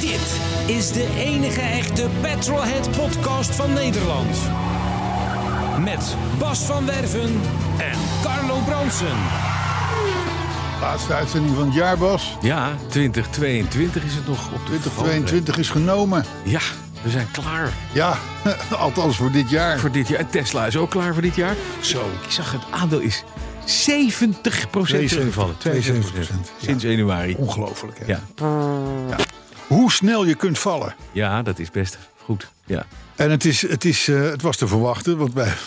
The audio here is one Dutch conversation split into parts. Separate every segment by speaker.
Speaker 1: Dit is de enige echte Petrolhead podcast van Nederland. Met Bas van Werven en Carlo Bronsen.
Speaker 2: Laatste uitzending van het jaar, Bas.
Speaker 3: Ja, 2022 is het nog op de
Speaker 2: 2022 is genomen.
Speaker 3: valreep. Ja, we zijn klaar
Speaker 2: Ja, althans voor dit jaar.
Speaker 3: voor dit jaar. En Tesla is ook klaar voor dit jaar. Zo, ik zag het aandeel is 70 teruggevallen.
Speaker 2: 72%, ja.
Speaker 3: Sinds 1 januari.
Speaker 2: Ongelooflijk, hè?
Speaker 3: Ja.
Speaker 2: Hoe snel je kunt vallen.
Speaker 3: ja, dat is best goed. Ja.
Speaker 2: En het, is, het, is, eh, het was te verwachten, want wij...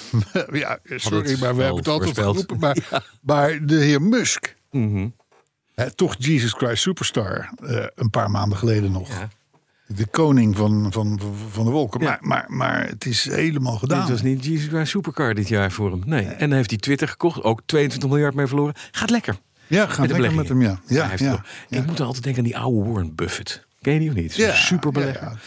Speaker 2: ja, sorry,
Speaker 3: het
Speaker 2: maar we hebben
Speaker 3: wel
Speaker 2: het altijd
Speaker 3: voorspeld. Mhm.
Speaker 2: geroepen. Maar, maar de heer Musk, hè, toch Jesus Christ Superstar, eh, een paar maanden geleden nog.
Speaker 3: Ja.
Speaker 2: De koning van, van, van de wolken.
Speaker 3: Ja.
Speaker 2: Maar, maar, maar het is helemaal gedaan.
Speaker 3: Dit was niet Jesus Christ Supercar dit jaar voor hem. Nee. En hij heeft die Twitter gekocht. Ook 22 miljard mee verloren. Gaat lekker.
Speaker 2: ja, gaan
Speaker 3: Met de
Speaker 2: lekker met hem, ja.
Speaker 3: beleggingen.
Speaker 2: ja,
Speaker 3: Hij heeft
Speaker 2: ja,
Speaker 3: wel- Ik moet altijd denken aan die oude Warren Buffett. Ken je die of niet?
Speaker 2: Ja,
Speaker 3: Super superbelegger.
Speaker 2: ja, ja.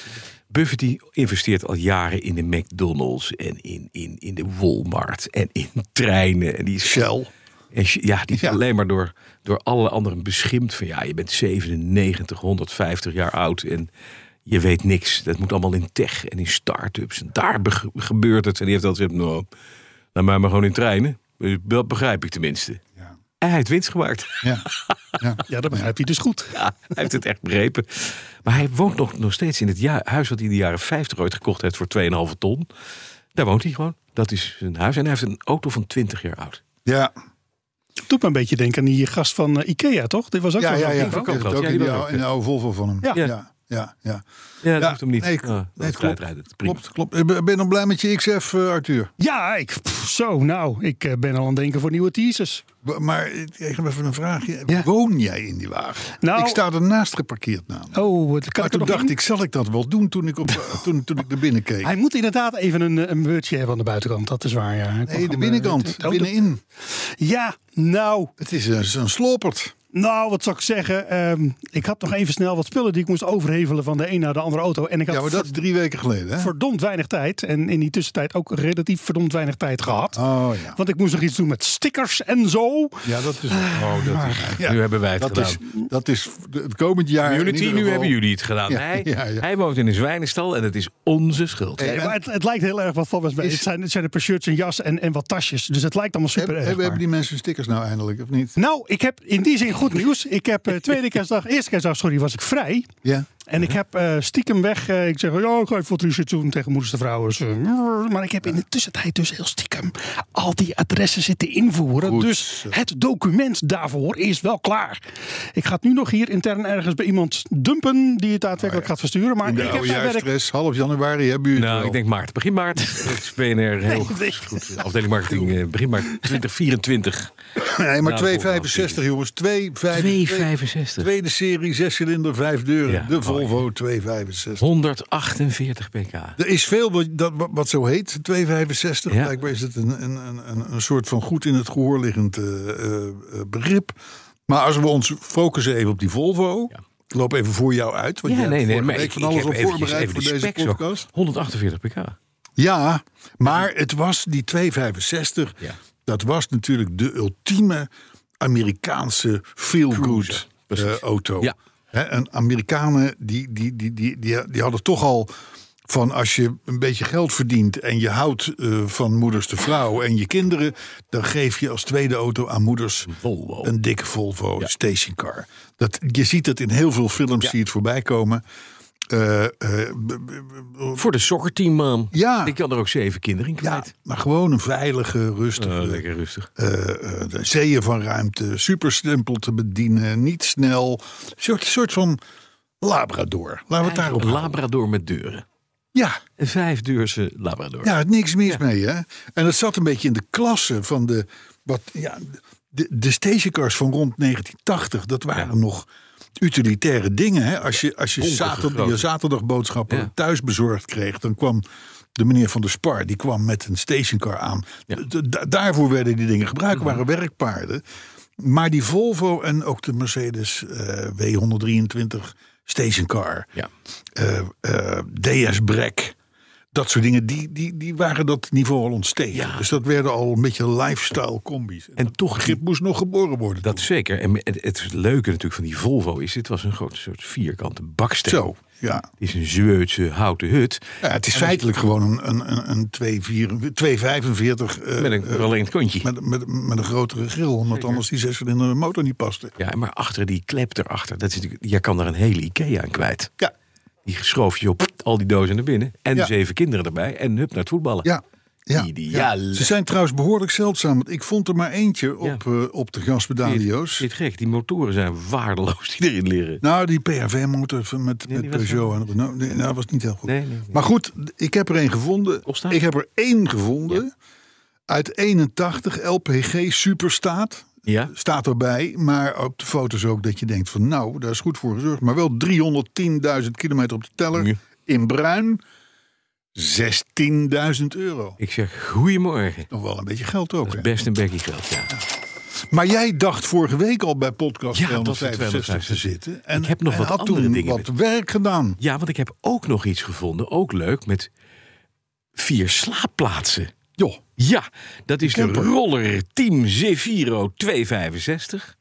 Speaker 3: Buffett die investeert al jaren in de McDonald's en in, in, in de Walmart en in treinen. En die is
Speaker 2: Shell.
Speaker 3: en sh- ja, die is
Speaker 2: Ja.
Speaker 3: alleen maar door, door alle anderen beschimpt. Van ja, je bent 97, 150 jaar oud en je weet niks. Dat moet allemaal in tech en in start-ups. En daar beg- gebeurt het. En die heeft altijd gezegd, nou, laat mij maar gewoon in treinen. Dat begrijp ik tenminste.
Speaker 2: Ja.
Speaker 3: En hij heeft winst gemaakt.
Speaker 2: Ja, ja. ja dat begrijp je dus goed.
Speaker 3: Ja, hij heeft het echt begrepen. Maar hij woont nog, nog steeds in het ja- huis wat hij in de jaren 50 ooit gekocht heeft voor 2,5 ton. Daar woont hij gewoon. Dat is zijn huis. En hij heeft een auto van 20 jaar oud.
Speaker 2: Ja,
Speaker 4: doet me een beetje denken aan die gast van eh, Ikea, toch? Dit was ook
Speaker 2: ja,
Speaker 4: wel
Speaker 2: ja,
Speaker 4: zo'n
Speaker 2: ja.
Speaker 4: ding
Speaker 2: Dat
Speaker 4: van-
Speaker 2: is
Speaker 3: ook groot.
Speaker 2: ook
Speaker 3: Ja,
Speaker 2: in
Speaker 3: die
Speaker 2: de
Speaker 3: was
Speaker 2: oude-
Speaker 3: ook
Speaker 2: in de oude Volvo van hem.
Speaker 4: Ja.
Speaker 2: ja, ja. ja,
Speaker 3: Ja, dat
Speaker 2: Ja,
Speaker 3: hoeft hem niet.
Speaker 2: nee,
Speaker 3: Ah, dat
Speaker 2: nee,
Speaker 3: is
Speaker 2: klopt.
Speaker 3: tijdrijden. Prima.
Speaker 2: Klopt, klopt. Ik ben- Ben je nog blij met je XF, eh, Arthur?
Speaker 4: Ja, ik, pff, zo, nou, ik eh, ben al aan het denken voor nieuwe teasers.
Speaker 2: B- Maar eh, ik heb even een vraagje.
Speaker 4: Ja.
Speaker 2: Woon jij in die wagen?
Speaker 4: Nou-
Speaker 2: ik sta ernaast geparkeerd namelijk.
Speaker 4: Oh, het kan
Speaker 2: maar
Speaker 4: ik er
Speaker 2: Nou, toen
Speaker 4: nog
Speaker 2: dacht
Speaker 4: in?
Speaker 2: ik, zal ik dat wel doen toen ik, op, eh, toen, toen ik naar binnen keek?
Speaker 4: Hij moet inderdaad even een, eh, een beurtje hebben aan de buitenkant, dat is waar, ja. Ik mag
Speaker 2: Nee, de
Speaker 4: hem, eh,
Speaker 2: binnenkant,
Speaker 4: het- oh,
Speaker 2: binnenin.
Speaker 4: de- Ja, nou,
Speaker 2: Het is een, een slopert.
Speaker 4: nou, wat zou ik zeggen? Ehm, ik had nog even snel wat spullen die ik moest overhevelen van de een naar de andere auto. En ik had
Speaker 2: Ja, maar dat is drie weken geleden, hè?
Speaker 4: verdomd weinig tijd. En in die tussentijd ook relatief verdomd weinig tijd gehad.
Speaker 2: Oh ja.
Speaker 4: Want ik moest nog iets doen met stickers en zo.
Speaker 2: Ja, dat is... Oh, dat is... ja,
Speaker 3: Ah, Nu hebben wij het
Speaker 2: dat
Speaker 3: gedaan.
Speaker 2: is, dat is het komend jaar... in
Speaker 3: Unity,
Speaker 2: ieder
Speaker 3: nu
Speaker 2: geval-
Speaker 3: hebben jullie het gedaan.
Speaker 2: Ja,
Speaker 3: hij,
Speaker 2: ja, ja.
Speaker 3: hij woont in een zwijnenstal en het is onze schuld.
Speaker 2: Hey,
Speaker 4: Nee, maar het, het lijkt heel erg wat van
Speaker 2: Is-
Speaker 4: Het zijn, het zijn een paar shirts en jas en, en wat tasjes. Dus het lijkt allemaal super
Speaker 2: Hebben,
Speaker 4: erg.
Speaker 2: hebben,
Speaker 4: maar-
Speaker 2: hebben die mensen stickers nou eindelijk, of niet?
Speaker 4: Nou, ik heb in die zin goed nieuws. Ik heb eh, tweede kerstdag, eerste kerstdag, sorry, was ik vrij.
Speaker 2: Ja.
Speaker 4: En ik heb eh, stiekem weg, eh, ik zeg, ja, ik ga even wat research doen tegen moeders en vrouwen. Dus, eh, maar ik heb in de tussentijd dus heel stiekem al die adressen zitten invoeren.
Speaker 2: Goed
Speaker 4: dus
Speaker 2: zo.
Speaker 4: het document daarvoor is wel klaar. Ik ga het nu nog hier intern ergens bij iemand dumpen die het daadwerkelijk gaat versturen. Maar
Speaker 2: Oh In de
Speaker 4: ik heb mijn werk
Speaker 2: oudejaarsstress, oh half januari hebben jullie het
Speaker 3: Nou,
Speaker 2: wel.
Speaker 3: ik denk maart. Begin maart. Het is PNR heel
Speaker 4: nee.
Speaker 3: goed. Afdeling marketing. eh, Begin maart 2024.
Speaker 2: Nee, maar
Speaker 3: Nou,
Speaker 2: 265 jongens. 265.
Speaker 3: 265.
Speaker 2: Tweede serie, zescilinder, vijf deuren.
Speaker 3: Ja,
Speaker 2: de
Speaker 3: oh,
Speaker 2: Volvo 265.
Speaker 3: 148 pk.
Speaker 2: Er is veel wat, dat, wat- wat zo heet, 265.
Speaker 3: Ja.
Speaker 2: Blijkbaar is het een, een, een, een- een soort van goed in het gehoor liggend eh, eh, eh, begrip. Maar als we ons focussen even op die Volvo.
Speaker 3: Ja.
Speaker 2: Ik loop even voor jou uit. Want jij
Speaker 3: ja,
Speaker 2: hebt
Speaker 3: nee,
Speaker 2: vorige
Speaker 3: nee, maar
Speaker 2: week
Speaker 3: ik,
Speaker 2: van
Speaker 3: ik
Speaker 2: alles
Speaker 3: heb
Speaker 2: op
Speaker 3: eventjes
Speaker 2: voorbereid
Speaker 3: even
Speaker 2: voor
Speaker 3: de
Speaker 2: deze
Speaker 3: specs ook.
Speaker 2: podcast.
Speaker 3: 148 pk.
Speaker 2: Ja, maar het was die 265.
Speaker 3: Ja.
Speaker 2: Dat was natuurlijk de ultieme Amerikaanse feel-good
Speaker 3: Cruiser, precies.
Speaker 2: eh, auto.
Speaker 3: Ja.
Speaker 2: Hè, en Amerikanen die, die, die, die, die, die hadden toch al van als je een beetje geld verdient en je houdt eh, van moeders de vrouw en je kinderen, dan geef je als tweede auto aan moeders
Speaker 3: Volvo.
Speaker 2: een dikke Volvo stationcar. Dat, je ziet dat in heel veel films, zie je het voorbij komen. Eh, eh, b- b-
Speaker 3: Voor de soccerteam, man.
Speaker 2: Ja.
Speaker 3: Ik kan er ook zeven kinderen in
Speaker 2: ja,
Speaker 3: kwijt.
Speaker 2: maar gewoon een veilige, rustige,
Speaker 3: Eh, lekker rustig.
Speaker 2: eh, eh, de zeeën van ruimte, super simpel te bedienen, niet snel. Een soort, soort van labrador. Laten we het daarop
Speaker 3: Een
Speaker 2: houden.
Speaker 3: labrador met deuren.
Speaker 2: Ja,
Speaker 3: Een vijfdeurse
Speaker 2: Nou,
Speaker 3: labrador.
Speaker 2: ja, niks mis mee. Hè? En dat zat een beetje in de klasse van de... Wat, ja, de, de stagecars van rond 1980, dat waren nog utilitaire dingen. Hè? Als je, als je
Speaker 3: Bonkige
Speaker 2: zaterdag,
Speaker 3: grote.
Speaker 2: je zaterdagboodschappen
Speaker 3: Ja.
Speaker 2: thuis bezorgd kreeg, dan kwam de meneer van de Spar, die kwam met een stationcar aan. D- da- daarvoor werden die dingen gebruikt, waren werkpaarden. Maar die Volvo en ook de Mercedes eh, W123 stationcar,
Speaker 3: Ja.
Speaker 2: eh, eh, DS Brek. Dat soort dingen, die, die, die waren dat niveau al ontstegen.
Speaker 3: Ja.
Speaker 2: Dus dat werden al een beetje lifestyle combis. En
Speaker 3: En toch
Speaker 2: Grip moest nog geboren worden.
Speaker 3: Dat zeker. En het, het leuke natuurlijk van die Volvo is, dit was een groot soort vierkante baksteen.
Speaker 2: Zo, ja.
Speaker 3: Het is een Zweedse houten hut.
Speaker 2: ja. Het is feitelijk gewoon een, een, een, een 2,4 245 eh,
Speaker 3: Met een
Speaker 2: eh,
Speaker 3: verlengd kontje.
Speaker 2: met, met, met een grotere grill. Omdat anders die zescilinder motor niet paste.
Speaker 3: Ja, maar achter die klep erachter, dat is natuurlijk, je kan er een hele Ikea aan kwijt.
Speaker 2: Ja,
Speaker 3: Die schoof je op al die dozen naar binnen. En
Speaker 2: Ja.
Speaker 3: zeven kinderen erbij. En hup naar het voetballen.
Speaker 2: ja. Ja,
Speaker 3: Ideaal.
Speaker 2: ja. Ze zijn trouwens behoorlijk zeldzaam. Want ik vond er maar eentje op, eh, op de gasbedalio's.
Speaker 3: Zit gek, die motoren zijn waardeloos die erin liggen.
Speaker 2: Nou, die PRV-motor van- met,
Speaker 3: die
Speaker 2: met
Speaker 3: was
Speaker 2: Peugeot en Renault, nee, nou, was niet heel goed.
Speaker 3: Nee, nee, nee.
Speaker 2: Maar goed, ik heb er één gevonden.
Speaker 3: Opstaan.
Speaker 2: Ik heb er één gevonden. Uit 81, LPG Superstaat.
Speaker 3: Ja.
Speaker 2: Staat erbij, maar op de foto's ook dat je denkt van nou, daar is goed voor gezorgd. Maar wel 310.000 kilometer op de teller.
Speaker 3: Ja.
Speaker 2: In bruin 16.000 euro.
Speaker 3: Ik zeg, goeiemorgen.
Speaker 2: Nog wel een beetje geld ook.
Speaker 3: Dat is
Speaker 2: hè?
Speaker 3: best een bekkie geld, ja.
Speaker 2: Maar jij dacht vorige week al bij podcast
Speaker 3: Ja, dat we
Speaker 2: 265 te
Speaker 3: 265
Speaker 2: zitten. En
Speaker 3: Ik heb nog
Speaker 2: en
Speaker 3: wat
Speaker 2: had
Speaker 3: andere
Speaker 2: toen
Speaker 3: dingen
Speaker 2: wat werk gedaan.
Speaker 3: Ja, want ik heb ook nog iets gevonden, ook leuk, met vier slaapplaatsen.
Speaker 2: Joh.
Speaker 3: Ja, dat is de
Speaker 2: Camper.
Speaker 3: roller Team Zefiro 265.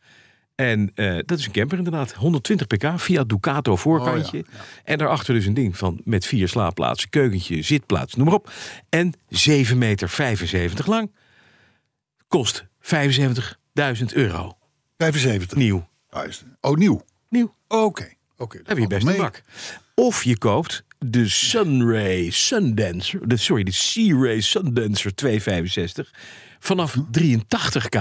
Speaker 3: En eh, dat is een camper inderdaad. 120 pk, via Ducato voorkantje. En daarachter dus een ding van met vier slaapplaatsen, keukentje, zitplaats, noem maar op. En 7,75 meter lang. Kost 75.000 euro.
Speaker 2: 75.
Speaker 3: Nieuw.
Speaker 2: Juist. Oh, nieuw.
Speaker 3: Nieuw.
Speaker 2: Oké. Oké. dat
Speaker 3: Heb je
Speaker 2: valt
Speaker 3: best
Speaker 2: mee.
Speaker 3: een bak. Of je koopt de Sunray Sundancer, de, sorry, de Sea-Ray Sundancer 265 vanaf 83k.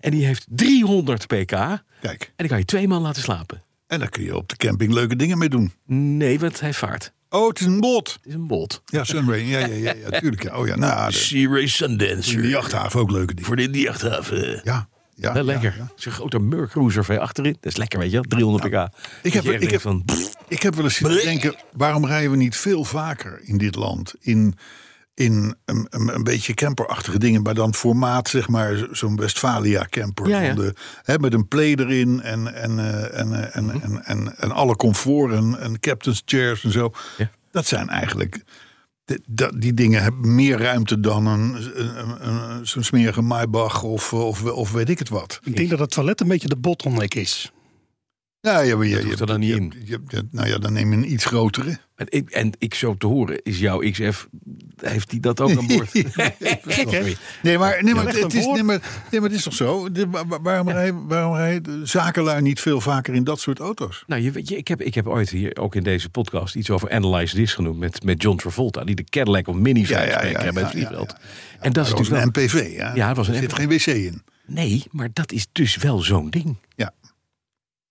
Speaker 3: En die heeft 300 pk. En
Speaker 2: Kijk,
Speaker 3: die kan je twee man laten slapen.
Speaker 2: en daar kun je op de camping leuke dingen mee doen.
Speaker 3: Nee, want hij vaart.
Speaker 2: Oh, het is een bot.
Speaker 3: Het is een bot.
Speaker 2: Ja, Sunray. Ja, ja, ja, ja, tuurlijk. Ja. Oh ja, nou, de,
Speaker 3: Sea-Ray
Speaker 2: in de
Speaker 3: Sundancer.
Speaker 2: jachthaven ook leuke dingen.
Speaker 3: Voor de jachthaven.
Speaker 2: Ja, ja.
Speaker 3: Wel
Speaker 2: ja,
Speaker 3: lekker.
Speaker 2: ja.
Speaker 3: Zo'n grote Merc Cruiser van je achterin. Dat is lekker, weet je wel. 300 pk. Dat
Speaker 2: heb-
Speaker 3: je echt
Speaker 2: ik heb-
Speaker 3: denkt van...
Speaker 2: Ik heb wel eens zitten denken, waarom rijden we niet veel vaker in dit land? In, in een, een, een beetje camperachtige dingen, maar dan formaat, zeg maar, zo- zo'n Westfalia camper.
Speaker 3: Ja, ja.
Speaker 2: Van de, hè, met een play erin en, en, eh, en, eh,
Speaker 3: Mhm.
Speaker 2: en, en, en, en alle comfort en, en captain's chairs en zo.
Speaker 3: Ja.
Speaker 2: Dat zijn eigenlijk... de- dat- die dingen hebben meer ruimte dan een, een, een- zo'n smerige Maybach of, of, of weet ik het wat.
Speaker 4: Ik denk dat het toilet een beetje de bottleneck is.
Speaker 2: Ja, ja, maar je, je,
Speaker 3: hoeft er dan niet
Speaker 2: je-
Speaker 3: in.
Speaker 2: je- je- nou ja, dan neem je een iets grotere.
Speaker 3: En ik, en ik zo te horen, is jouw XF... Heeft hij dat ook aan boord? Gek, hè?
Speaker 2: Nee, maar, nee, maar,
Speaker 4: legt
Speaker 2: het,
Speaker 4: een
Speaker 2: is,
Speaker 4: voor.
Speaker 2: nee, maar, nee, maar het is toch zo? De- wa- wa- waarom, rijden, waarom rijden zakenlui niet veel vaker in dat soort auto's?
Speaker 3: Nou, je, weet- je, ik, heb, ik heb ooit hier ook in deze podcast iets over Analyze This genoemd met, met John Travolta, die de Cadillac of Mini
Speaker 2: Ja,
Speaker 3: ja,
Speaker 2: ja, ja,
Speaker 3: bij
Speaker 2: ja,
Speaker 3: het
Speaker 2: ja,
Speaker 3: vliegveld.
Speaker 2: ja,
Speaker 3: En dat is
Speaker 2: Dat was
Speaker 3: natuurlijk
Speaker 2: een
Speaker 3: wel.
Speaker 2: MPV, ja.
Speaker 3: Ja, het was een
Speaker 2: er zit
Speaker 3: MPV.
Speaker 2: geen wc in.
Speaker 3: Nee, maar dat is dus wel zo'n ding.
Speaker 2: Ja.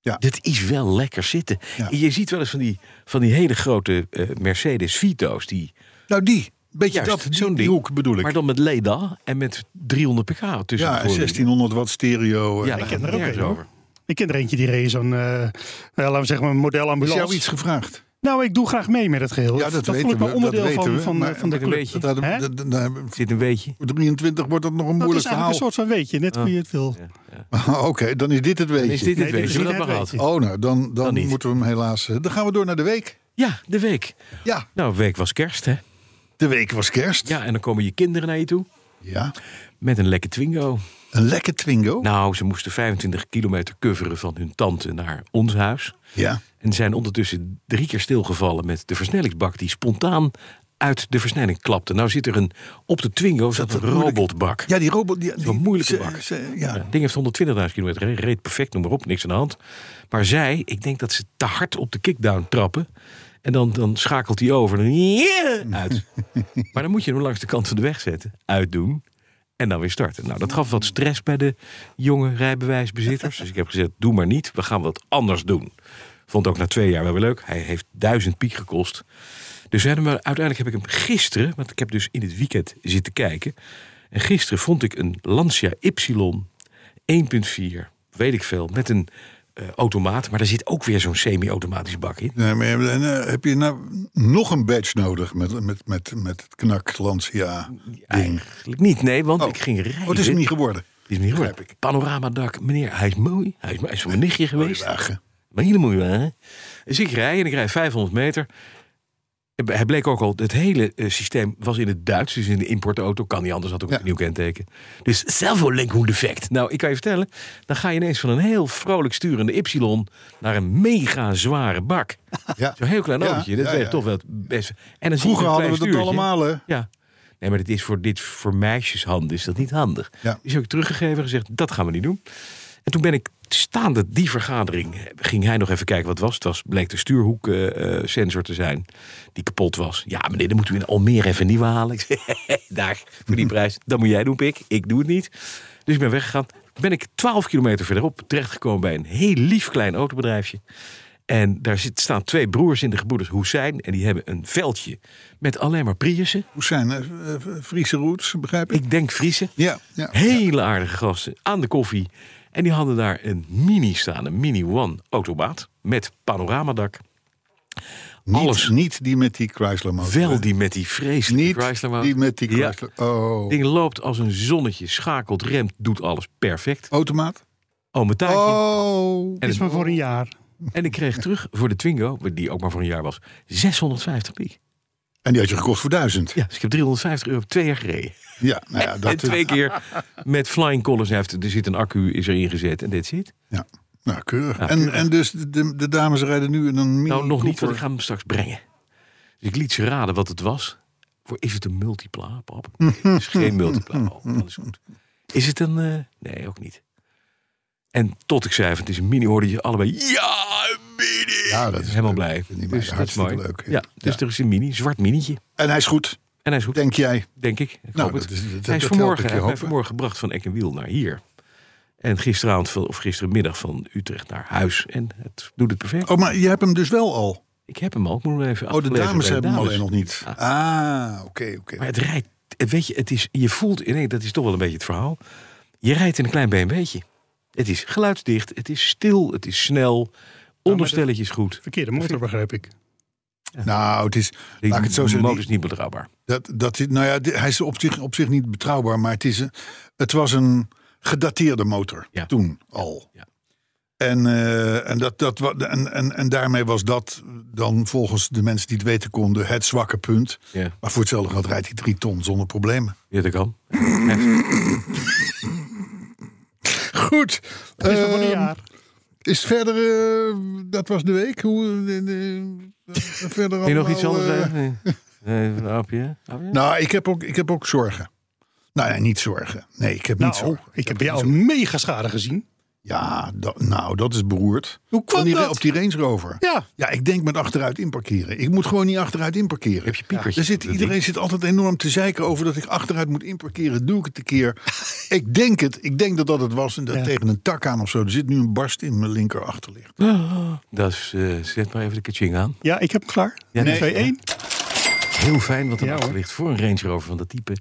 Speaker 2: Ja.
Speaker 3: Dat is wel lekker zitten.
Speaker 2: Ja.
Speaker 3: Je ziet wel eens van die, van die hele grote eh, Mercedes Vito's die.
Speaker 2: Nou, die. Beetje
Speaker 3: Juist,
Speaker 2: dat,
Speaker 3: zo'n
Speaker 2: zo'n die
Speaker 3: ding.
Speaker 2: hoek bedoel ik.
Speaker 3: Maar dan met Leda en met 300 pk tussen.
Speaker 2: ja,
Speaker 3: de voorwielen.
Speaker 2: 1600 watt stereo.
Speaker 3: Ja,
Speaker 2: ik
Speaker 3: daar
Speaker 2: heb
Speaker 3: gaat
Speaker 2: er
Speaker 3: het
Speaker 2: ook
Speaker 3: nergens
Speaker 2: een. hoor.
Speaker 3: over.
Speaker 4: Ik ken er eentje die reed zo'n, eh, eh, laten we zeggen, een
Speaker 2: Is jou
Speaker 4: modelambulance.
Speaker 2: iets gevraagd?
Speaker 4: Nou, ik doe graag mee met het geheel.
Speaker 2: Ja, dat
Speaker 4: voel
Speaker 2: weten
Speaker 4: ik wel
Speaker 2: we,
Speaker 4: onderdeel
Speaker 2: dat
Speaker 4: van,
Speaker 2: weten we,
Speaker 4: van, eh,
Speaker 2: maar-
Speaker 4: van de
Speaker 3: Met een
Speaker 4: club.
Speaker 3: beetje.
Speaker 2: Dat hadden,
Speaker 4: Hè?
Speaker 2: dat- dat- nou,
Speaker 3: Zit een beetje.
Speaker 2: voor 23 wordt dat nog een
Speaker 4: Dat is
Speaker 2: moeilijk
Speaker 4: eigenlijk
Speaker 2: verhaal.
Speaker 4: een soort van weetje, net hoe je het wil.
Speaker 2: Oké, dan is dit het
Speaker 3: Is
Speaker 2: weetje.
Speaker 3: dit het
Speaker 4: dit
Speaker 3: weetje?
Speaker 4: is
Speaker 3: We
Speaker 4: niet
Speaker 3: dat maar
Speaker 4: het
Speaker 3: gehad.
Speaker 4: weetje.
Speaker 2: Oh, nou, dan, dan,
Speaker 3: Dan niet.
Speaker 2: moeten we hem helaas... eh, Dan gaan we door naar de week.
Speaker 3: Ja, de week.
Speaker 2: Ja,
Speaker 3: Nou, week was kerst, hè?
Speaker 2: de week was kerst.
Speaker 3: Ja, en dan komen je kinderen naar je toe
Speaker 2: ja.
Speaker 3: met een lekker Twingo.
Speaker 2: Een lekker Twingo.
Speaker 3: Nou, ze moesten 25 kilometer coveren van hun tante naar ons huis.
Speaker 2: Ja.
Speaker 3: En zijn ondertussen drie keer stilgevallen met de versnellingsbak die spontaan uit de versnelling klapte. Nou zit er een, op de Twingo zat
Speaker 2: Dat-
Speaker 3: een
Speaker 2: dat moeilijk-
Speaker 3: robotbak.
Speaker 2: Ja, die robot... Die,
Speaker 3: Zo'n
Speaker 2: die-
Speaker 3: moeilijke
Speaker 2: ze-
Speaker 3: bak.
Speaker 2: ze- ja.
Speaker 3: Ja, het Eh, ding heeft 120.000 kilometer gereden, reed perfect, noem maar op, niks aan de hand. Maar zij, ik denk dat ze te hard op de kickdown trappen. En dan, dan schakelt hij over en dan yeah, uit. maar dan moet je hem langs de kant van de weg zetten, uitdoen en dan weer starten. Nou, dat gaf wat stress bij de jonge rijbewijsbezitters. Dus ik heb gezegd, doe maar niet, we gaan wat anders doen. Vond ook na twee jaar wel weer leuk. Hij heeft duizend piek gekost. Dus we hebben hem- uiteindelijk heb ik hem gisteren, want ik heb dus in het weekend zitten kijken. En gisteren vond ik een Lancia Y 1.4, weet ik veel, met een eh, automaat. Maar daar zit ook weer zo'n semi-automatisch bak in.
Speaker 2: Nee, maar heb, en, eh, heb je nou nog een badge nodig met, met, met, met het knak Lancia ding?
Speaker 3: Eigenlijk niet, nee, want
Speaker 2: Oh.
Speaker 3: ik ging rijden.
Speaker 2: Oh, het is hem niet geworden.
Speaker 3: Die is niet hoor.
Speaker 2: Begrijp ik.
Speaker 3: Panoramadak, meneer, hij is mooi. Hij is, hij is voor mijn nichtje geweest.
Speaker 2: Mooie wagen.
Speaker 3: Maar hele mooie wagen. Dus ik rij en ik rijd 500 meter. En Hij bleek ook al, het hele eh, systeem was in het Duits. Dus in de importauto kan niet anders, had ook
Speaker 2: Ja.
Speaker 3: een nieuw kenteken. Dus servolenkhoe defect. Nou, ik kan je vertellen, dan ga je ineens van een heel vrolijk sturende Y naar een mega zware bak.
Speaker 2: Ja.
Speaker 3: Zo'n heel klein
Speaker 2: Ja,
Speaker 3: autootje, dat
Speaker 2: ja,
Speaker 3: weet
Speaker 2: ja.
Speaker 3: toch wel het best. En dan zie je
Speaker 2: Vroeger
Speaker 3: een
Speaker 2: hadden
Speaker 3: klein
Speaker 2: we dat
Speaker 3: stuurtje.
Speaker 2: allemaal, hè?
Speaker 3: Ja. Nee, maar dit is voor, dit voor meisjeshanden is dat niet handig.
Speaker 2: Ja.
Speaker 3: Dus heb ik teruggegeven en gezegd, dat gaan we niet doen. En toen ben ik staande die vergadering, eh, ging hij nog even kijken wat het was. Het was, bleek de stuurhoeksensor sensor te zijn, die kapot was. Ja, meneer, dan moeten we in Almere even een nieuwe halen. Ik zei, daar, voor die prijs. Dat moet jij doen, Pik. Ik doe het niet. Dus ik ben weggegaan. Ben ik 12 kilometer verderop terechtgekomen bij een heel lief klein autobedrijfje. En daar zit, staan twee broers in de gebroeders Hoesijn. En die hebben een veldje met alleen maar Priussen.
Speaker 2: Hoe zijn eh, eh, Friese roots, begrijp ik?
Speaker 3: Ik denk Friese.
Speaker 2: Ja, ja.
Speaker 3: Hele aardige gasten aan de koffie. En die hadden daar een mini staan, een mini one automaat met panoramadak.
Speaker 2: Niet,
Speaker 3: alles.
Speaker 2: niet die met die Chrysler motor. hè?
Speaker 3: Wel die met die vreselijke
Speaker 2: Niet
Speaker 3: Chrysler motor.
Speaker 2: die met die
Speaker 3: Ja.
Speaker 2: Chrysler. Oh.
Speaker 3: Het ding loopt als een zonnetje, schakelt, remt, doet alles perfect.
Speaker 2: Automaat?
Speaker 3: Oh, mijn tuintje.
Speaker 2: Oh.
Speaker 3: En,
Speaker 4: is maar voor een jaar.
Speaker 3: en ik kreeg terug voor de Twingo, die ook maar voor een jaar was, 650 piek.
Speaker 2: En die had je gekocht voor duizend.
Speaker 3: Ja, dus ik heb 350 euro op twee jaar gereden.
Speaker 2: Ja, nou ja,
Speaker 3: en
Speaker 2: dat...
Speaker 3: twee keer met flying colors. Hij heeft- Er zit een accu, is erin gezet en dit zit.
Speaker 2: Ja. Nou, keurig. en, en dus de, de, de dames rijden nu in een mini
Speaker 3: Nou, nog niet,
Speaker 2: Cooper.
Speaker 3: want ik ga hem straks brengen. Dus ik liet ze raden wat het was. Voor, is het een multipla, pap? Nee, het is geen multipla, pap. Dat is goed. Is het een... eh, nee, ook niet. En tot ik zei, van, het is een mini, hoorde je allebei... Ja, een mini!
Speaker 2: Ja, dat is
Speaker 3: Helemaal
Speaker 2: leuk.
Speaker 3: blij.
Speaker 2: Ik vind die
Speaker 3: Dus
Speaker 2: meiden
Speaker 3: dat is
Speaker 2: hartstikke
Speaker 3: mooi.
Speaker 2: leuk, hè?
Speaker 3: Ja, dus
Speaker 2: Ja.
Speaker 3: er is een mini, zwart minietje.
Speaker 2: En hij is goed,
Speaker 3: En hij is goed, denk,
Speaker 2: denk jij.
Speaker 3: ik. ik
Speaker 2: Nou,
Speaker 3: hoop het.
Speaker 2: dat is- dat- dat
Speaker 3: hij is
Speaker 2: helpt
Speaker 3: vanmorgen,
Speaker 2: ik je
Speaker 3: hij heeft mij
Speaker 2: hopen.
Speaker 3: vanmorgen gebracht van Eck en Wiel naar hier. En gisteravond, van, of gisterenmiddag van Utrecht naar huis. En het doet het perfect.
Speaker 2: Oh, maar je hebt hem dus wel al.
Speaker 3: Ik heb hem al. Ik moet hem even
Speaker 2: Oh, de
Speaker 3: afleveren
Speaker 2: dames
Speaker 3: bij
Speaker 2: hebben hem
Speaker 3: dames.
Speaker 2: alleen nog niet.
Speaker 3: Ja.
Speaker 2: Ah, oké, oké.
Speaker 3: Maar het rijdt, het- weet je, het is, je voelt, nee, dat is toch wel een beetje het verhaal. Je rijdt in een klein BMW'tje. Het is geluidsdicht, het is stil, het is snel. Onderstelletjes goed.
Speaker 4: Verkeerde motor, begrijp ik.
Speaker 2: Nou, het is...
Speaker 3: Die
Speaker 2: Laat ik het zo zeggen.
Speaker 3: motor
Speaker 2: die-
Speaker 3: is niet betrouwbaar.
Speaker 2: Dat, dat, is- nou ja, di- hij is op zich, op zich niet betrouwbaar, maar het, is, een- het was een gedateerde motor
Speaker 3: Ja.
Speaker 2: toen al.
Speaker 3: Ja.
Speaker 2: En, eh, en, dat, dat, wa- en, en, en daarmee was dat dan volgens de mensen die het weten konden het zwakke punt.
Speaker 3: Ja.
Speaker 2: Maar voor hetzelfde geld rijdt hij drie ton zonder problemen.
Speaker 3: Ja, dat kan.
Speaker 2: Goed.
Speaker 4: Is
Speaker 2: Ehm,
Speaker 4: maar voor een jaar.
Speaker 2: Is verder, eh, dat was de week. Hoe, eh, eh, eh, verder
Speaker 3: Wil je nog
Speaker 2: allemaal,
Speaker 3: iets anders
Speaker 2: eh,
Speaker 3: zeggen? Nee. Nee, Een apje? Apje?
Speaker 2: Nou, ik heb, ook, ik heb ook zorgen. Nou ja, niet zorgen. Nee, ik heb niet
Speaker 4: Nou,
Speaker 2: zorgen.
Speaker 4: ik heb bij jou een mega schade gezien.
Speaker 2: Ja, dat, nou, dat is beroerd.
Speaker 4: Hoe kwam
Speaker 2: Van die,
Speaker 4: dat?
Speaker 2: Op die Range Rover.
Speaker 4: Ja.
Speaker 2: Ja, ik denk met achteruit inparkeren. Ik moet gewoon niet achteruit inparkeren.
Speaker 3: Heb je piepertje?
Speaker 2: Er zit,
Speaker 3: Dat
Speaker 2: iedereen zit altijd enorm te zeiken over dat ik achteruit moet inparkeren. Doe ik het een keer? ik denk het. Ik denk dat dat het was. En dat
Speaker 4: Ja.
Speaker 2: tegen een tak aan of zo. Er zit nu een barst in mijn linker achterlicht.
Speaker 3: Dat is, eh, zet maar even de kaching aan.
Speaker 4: Ja, ik heb hem klaar.
Speaker 3: Ja, nee.
Speaker 4: 2-1.
Speaker 3: Heel fijn, want er
Speaker 4: Ja, hoor.
Speaker 3: ligt voor een Range Rover van dat type.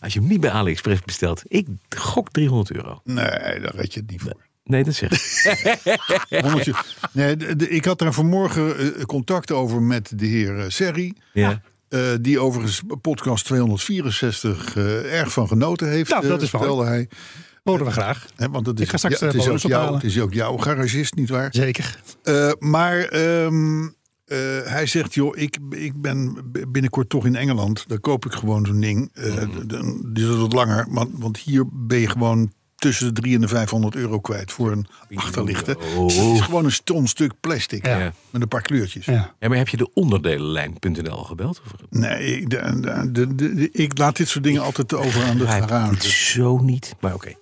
Speaker 3: Als je hem niet bij AliExpress bestelt, ik gok 300 euro.
Speaker 2: Nee, daar red je het niet voor.
Speaker 3: Nee, dat zeg ik.
Speaker 2: 100 euro. Nee, de- de- ik had daar vanmorgen eh, contact over met de heer eh, Serri.
Speaker 3: Ja.
Speaker 2: Eh, die overigens podcast 264 eh, erg van genoten heeft.
Speaker 4: Nou,
Speaker 2: eh,
Speaker 4: dat is waar.
Speaker 2: vertelde hij.
Speaker 4: Horen we graag.
Speaker 2: Hè, want dat is,
Speaker 4: Ik ga straks,
Speaker 2: ja, het,
Speaker 4: eh,
Speaker 2: is ook
Speaker 4: bonus
Speaker 2: jou,
Speaker 4: ophalen.
Speaker 2: het is ook jouw garagist, nietwaar?
Speaker 4: Zeker.
Speaker 2: Eh maar ehm, eh, hij zegt, joh, ik, ik ben b- binnenkort toch in Engeland. Daar koop ik gewoon zo'n ding. Eh, d- dan- Die is wat langer, want, want hier ben je gewoon tussen de 300 en de 500 euro kwijt voor een achterlichten. Het is gewoon een ton stuk plastic
Speaker 4: Ja.
Speaker 3: Ja.
Speaker 2: met een paar kleurtjes.
Speaker 4: Ja.
Speaker 3: Ja, maar heb je de onderdelenlijn.nl gebeld? Of-
Speaker 2: Nee, ik- de- de- de- de- ik laat dit soort dingen altijd over aan de
Speaker 3: Hij doet
Speaker 2: garage.
Speaker 3: zo niet. Maar oké.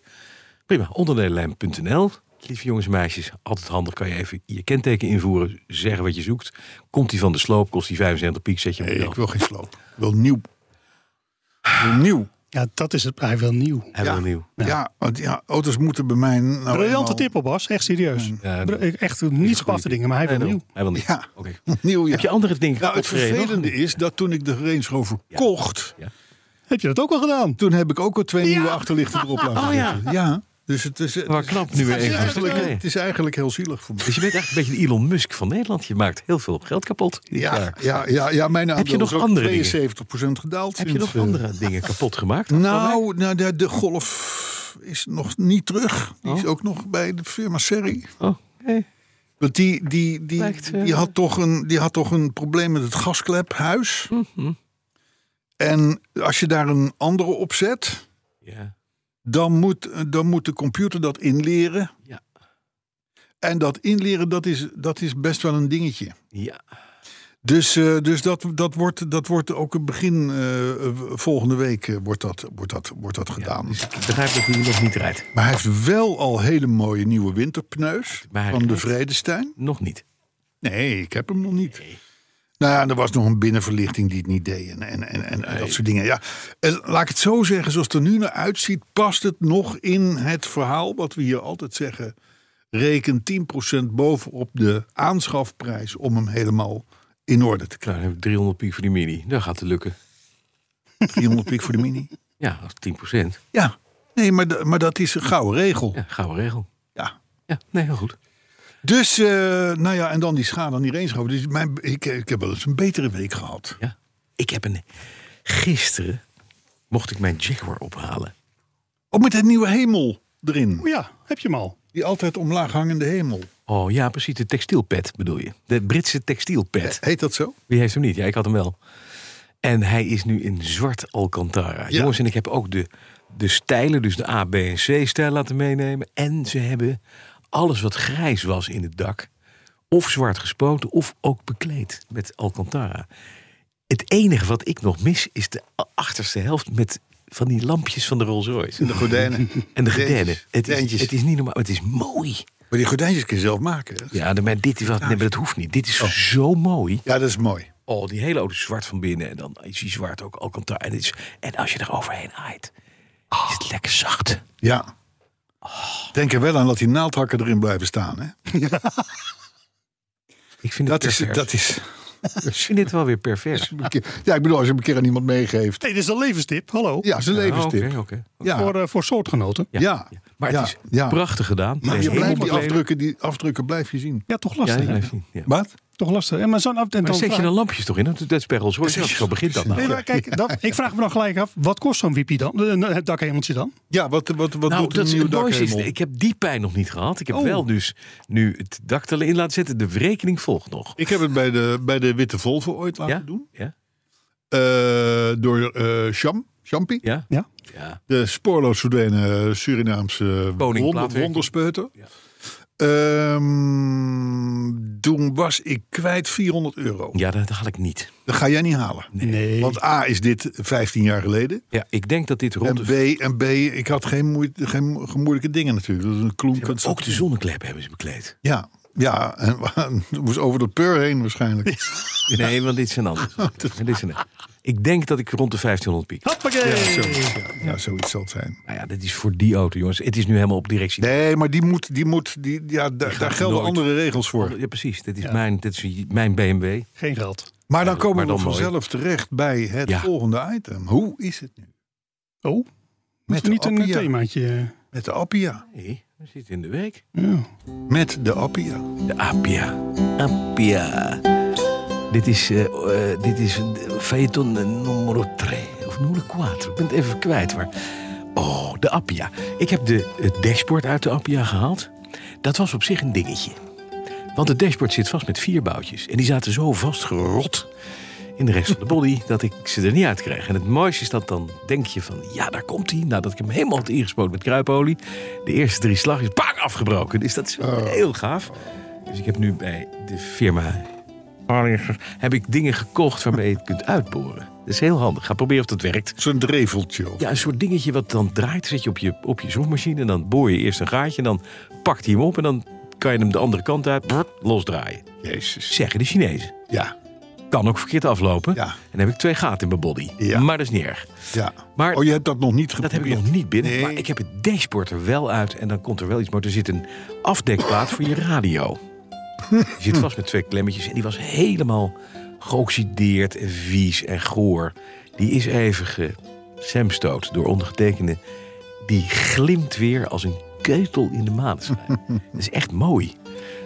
Speaker 3: Prima. Onderdelenlijn.nl. Lieve jongens en meisjes, altijd handig. Kan je even je kenteken invoeren, zeggen wat je zoekt. Komt die van de sloop, kost die 75 piek, zet je hem
Speaker 2: Nee,
Speaker 3: op
Speaker 2: ik
Speaker 3: de
Speaker 2: wil geen sloop. Ik wil nieuw. Ik wil nieuw.
Speaker 4: ja, dat is het. Hij wil nieuw.
Speaker 3: Hebben we
Speaker 2: Ja.
Speaker 3: nieuw.
Speaker 2: Ja, want ja, auto's moeten bij mij. Nou
Speaker 4: Briljante
Speaker 2: eenmaal-
Speaker 4: tip op Bas. Echt serieus.
Speaker 3: Ja,
Speaker 4: Br- Echt eh, niet
Speaker 3: Goeie
Speaker 4: spatte
Speaker 3: tip.
Speaker 4: dingen, maar hij wil
Speaker 3: Nee,
Speaker 4: nieuw.
Speaker 3: Hij wil nieuw.
Speaker 2: Ja.
Speaker 3: Oké.
Speaker 2: Nieuw, ja.
Speaker 3: Heb je andere dingen
Speaker 2: nou, het
Speaker 3: opgereden?
Speaker 2: vervelende is dat toen ik de Range Rover kocht,
Speaker 4: Heb je dat ook al gedaan?
Speaker 2: toen heb ik ook al twee nieuwe achterlichten erop laten
Speaker 3: Oh, ja.
Speaker 2: zetten. Ja, Dus het is, het
Speaker 3: Maar
Speaker 2: is-
Speaker 3: Nou, knap nu weer
Speaker 2: het is
Speaker 3: even.
Speaker 2: eigenlijk-
Speaker 3: Nee.
Speaker 2: Het is eigenlijk heel zielig voor me.
Speaker 3: Dus je bent eigenlijk een beetje de Elon Musk van Nederland. Je maakt heel veel geld kapot. dit
Speaker 2: Ja,
Speaker 3: jaar.
Speaker 2: ja, ja, ja mijn aandeel
Speaker 3: nog
Speaker 2: is ook
Speaker 3: andere dingen?
Speaker 2: 72% gedaald.
Speaker 3: Heb je
Speaker 2: sinds,
Speaker 3: nog
Speaker 2: eh,
Speaker 3: andere dingen kapot gemaakt?
Speaker 2: Nou, nou de, de golf is nog niet terug. Die is
Speaker 3: Oh.
Speaker 2: ook nog bij de firma Serri.
Speaker 3: Oh, hey.
Speaker 2: Want die, die, die,
Speaker 3: Lijkt,
Speaker 2: die,
Speaker 3: eh,
Speaker 2: had toch een, die had toch een probleem met het gasklephuis.
Speaker 3: Mhm.
Speaker 2: En als je daar een andere op zet,
Speaker 3: Ja.
Speaker 2: dan moet, dan moet de computer dat inleren.
Speaker 3: Ja.
Speaker 2: En dat inleren, dat is, dat is best wel een dingetje.
Speaker 3: Ja.
Speaker 2: Dus, eh, dus dat, dat, wordt, dat wordt ook een begin eh, eh, volgende week eh, wordt, dat, wordt, dat, wordt dat gedaan.
Speaker 3: Dus ik begrijp dat hij nog niet rijdt.
Speaker 2: Maar hij heeft wel al hele mooie nieuwe winterpneus
Speaker 3: Maar hij
Speaker 2: van de
Speaker 3: rijdt.
Speaker 2: Vredestein.
Speaker 3: Nog niet.
Speaker 2: Nee, ik heb hem nog niet. Nou ja, en er was nog een binnenverlichting die het niet deed en, en, en, en dat soort dingen. Ja, en laat ik het zo zeggen, zoals het er nu naar uitziet, past het nog in het verhaal wat we hier altijd zeggen. Reken 10% bovenop de aanschafprijs om hem helemaal in orde te krijgen.
Speaker 3: Nou, dan heb ik 300 piek voor die mini. Dat gaat het lukken.
Speaker 2: 300 piek voor de mini.
Speaker 3: Ja, als 10 procent.
Speaker 2: Ja, nee, maar, da- maar dat is een gouden regel.
Speaker 3: Ja, gouden regel.
Speaker 2: Ja.
Speaker 3: Ja, nee, heel goed.
Speaker 2: Dus, eh, nou ja, en dan die schade aan die Range Dus mijn, ik, ik heb wel eens een betere week gehad.
Speaker 3: Ja. Ik heb een... Gisteren mocht ik mijn Jaguar ophalen.
Speaker 2: Ook met het nieuwe hemel erin.
Speaker 4: Oh Ja, heb je hem al.
Speaker 2: Die altijd omlaag hangende hemel.
Speaker 3: Oh ja, precies. De textielpet bedoel je. De Britse textielpet.
Speaker 2: Heet dat zo?
Speaker 3: Wie heeft hem niet? Ja, ik had hem wel. En hij is nu in zwart Alcantara.
Speaker 2: Ja.
Speaker 3: Jongens, en ik heb ook de, de stijlen, dus de A, B en C-stijl laten meenemen. En ze hebben alles wat grijs was in het dak... of zwart gespoten of ook bekleed met Alcantara. Het enige wat ik nog mis is de a- achterste helft... met van die lampjes van de Rolls-Royce.
Speaker 2: De gordijnen.
Speaker 3: En de
Speaker 2: Gordijntjes.
Speaker 3: gordijnen. Het is,
Speaker 2: Gordijntjes.
Speaker 3: het is niet normaal, maar het is mooi.
Speaker 2: Maar die gordijntjes kun je zelf maken. hè?
Speaker 3: Ja, maar dit is wat, nee, maar dat hoeft niet. Dit is zo mooi.
Speaker 2: Ja, dat is mooi.
Speaker 3: Oh, die hele auto is zwart van binnen en dan is die zwart ook Alcantara. En, het is, en als je er overheen aait, is het lekker zacht.
Speaker 2: Ja.
Speaker 3: Oh.
Speaker 2: Denk er wel aan dat die naaldhakken erin blijven staan. Hè?
Speaker 3: Ik vind het
Speaker 2: Dat, is,
Speaker 3: pervers.
Speaker 2: dat is...
Speaker 3: Ik vind dit wel weer pervers.
Speaker 2: Ja, ik bedoel, als je hem een keer aan iemand meegeeft.
Speaker 4: Hey, dit is een levenstip, hallo.
Speaker 2: Ja, zijn
Speaker 3: Oh,
Speaker 2: levenstip.
Speaker 3: Oké, oké.
Speaker 2: Ja.
Speaker 4: Voor, eh, voor soortgenoten.
Speaker 3: Ja,
Speaker 2: Ja.
Speaker 3: ja. Maar het
Speaker 2: Ja,
Speaker 3: is
Speaker 2: ja.
Speaker 3: prachtig gedaan.
Speaker 2: Maar je
Speaker 3: Helemaal
Speaker 2: blijft die
Speaker 3: bekleed.
Speaker 2: afdrukken, die afdrukken blijf je zien.
Speaker 4: Ja, toch
Speaker 3: Ja,
Speaker 4: lastig.
Speaker 3: die
Speaker 4: hè?
Speaker 3: blijft zien, ja.
Speaker 2: Wat?
Speaker 4: Toch lastig. Ja, maar zo'n af en
Speaker 3: Maar
Speaker 4: dan
Speaker 3: zet je
Speaker 4: vraag-
Speaker 3: dan lampjes toch in? Dat is per Rolls Royce. Zo begint dat nou.
Speaker 4: Nee, maar kijk, dat, ik vraag me dan gelijk af, wat kost zo'n wiepie dan? Eh, Het dakhemeltje dan?
Speaker 2: Ja, wat, wat, wat
Speaker 3: Nou,
Speaker 2: doet een
Speaker 3: dat is
Speaker 2: nieuw
Speaker 3: het mooiste. is,
Speaker 2: dakhemel?
Speaker 3: Ik heb die pijn nog niet gehad. Ik heb
Speaker 4: Oh.
Speaker 3: wel dus nu het dak erin laten zetten. De rekening volgt nog.
Speaker 2: Ik heb het bij de, bij de Witte Volvo ooit laten
Speaker 3: Ja?
Speaker 2: doen.
Speaker 3: Ja?
Speaker 2: Eh, door eh Cham, Champi,
Speaker 3: Ja?
Speaker 4: Ja.
Speaker 3: Ja.
Speaker 2: de spoorloos verdwenen Surinaamse
Speaker 3: Koning
Speaker 2: wonder,
Speaker 3: plaatwerker.
Speaker 2: wonderspeuter.
Speaker 3: Ja.
Speaker 2: Ehm, toen was ik kwijt 400 euro.
Speaker 3: Ja, dat had ik niet.
Speaker 2: Dat ga jij niet halen.
Speaker 4: Nee.
Speaker 2: Want A is dit 15 jaar geleden.
Speaker 3: Ja, ik denk dat dit
Speaker 2: En
Speaker 3: rond de
Speaker 2: B, en B, ik had geen, moeite, geen mo- gemoeilijke dingen natuurlijk. Dat is een kloenkans.
Speaker 3: Ook de zonneklep hebben ze bekleed.
Speaker 2: Ja, ja en, moest over de peur heen waarschijnlijk.
Speaker 3: Nee, want dit zijn anders. dit zijn ik denk dat ik rond de 1500 piek.
Speaker 4: Hoppakee!
Speaker 2: Zoiets, ja. ja, zoiets zal het zijn.
Speaker 3: Nou ja, dit is voor die auto, jongens. Het is nu helemaal op directie.
Speaker 2: Nee, maar die moet, die moet, die, ja, daar, daar gelden
Speaker 3: nooit.
Speaker 2: andere regels voor.
Speaker 3: Ja, precies. Dit is, mijn, dit is mijn BMW.
Speaker 4: Geen geld.
Speaker 2: Maar dan komen
Speaker 3: maar
Speaker 2: we
Speaker 3: dan mooi.
Speaker 2: vanzelf terecht bij het
Speaker 3: Ja.
Speaker 2: volgende item. Hoe is het nu?
Speaker 4: Oh,
Speaker 2: Met
Speaker 4: met niet een
Speaker 2: Appia.
Speaker 4: themaatje.
Speaker 2: Met de Appia.
Speaker 3: Nee, we zitten in de week.
Speaker 4: Ja.
Speaker 2: Met de Appia.
Speaker 3: De Appia. Appia. Dit is, eh eh, dit is Phaeton numero 3. Of numero 4. Ik ben het even kwijt. Maar... Oh, de Appia. Ik heb de, het dashboard uit de Appia gehaald. Dat was op zich een dingetje. Want het dashboard zit vast met vier boutjes. En die zaten zo vastgerot in de rest van de body dat ik ze er niet uit kreeg. En het mooiste is dat dan denk je van, ja, daar komt hij. Nadat ik hem helemaal had ingespoten met kruipolie. De eerste drie slag is bang afgebroken. Dus dat is wel heel gaaf. Dus ik heb nu bij de firma heb ik dingen gekocht waarmee je het kunt uitboren. Dat is heel handig. Ga proberen of dat werkt.
Speaker 2: Zo'n dreveltje.
Speaker 3: Ja, een soort dingetje wat dan draait, zet je op je, op je zoekmachine. En dan boor je eerst een gaatje. En dan pakt hij hem op. En dan kan je hem de andere kant uit brrr, losdraaien.
Speaker 2: Jezus.
Speaker 3: Zeggen de Chinezen.
Speaker 2: Ja,
Speaker 3: Kan ook verkeerd aflopen.
Speaker 2: Ja.
Speaker 3: En dan heb ik twee gaten in mijn body.
Speaker 2: Ja.
Speaker 3: Maar dat is niet erg.
Speaker 2: ja.
Speaker 3: Maar
Speaker 2: oh, je hebt dat nog niet
Speaker 3: dat
Speaker 2: geprobeerd?
Speaker 3: heb ik nog niet binnen.
Speaker 2: Nee.
Speaker 3: Maar ik heb het dashboard er wel uit. En dan komt er wel iets. Maar er zit een afdekplaat voor je radio. Die zit vast met twee klemmetjes. En die was helemaal geoxideerd en vies en goor. Die is even gesemstoot door ondergetekende. Die glimt weer als een ketel in de maneschijn. dat is echt mooi.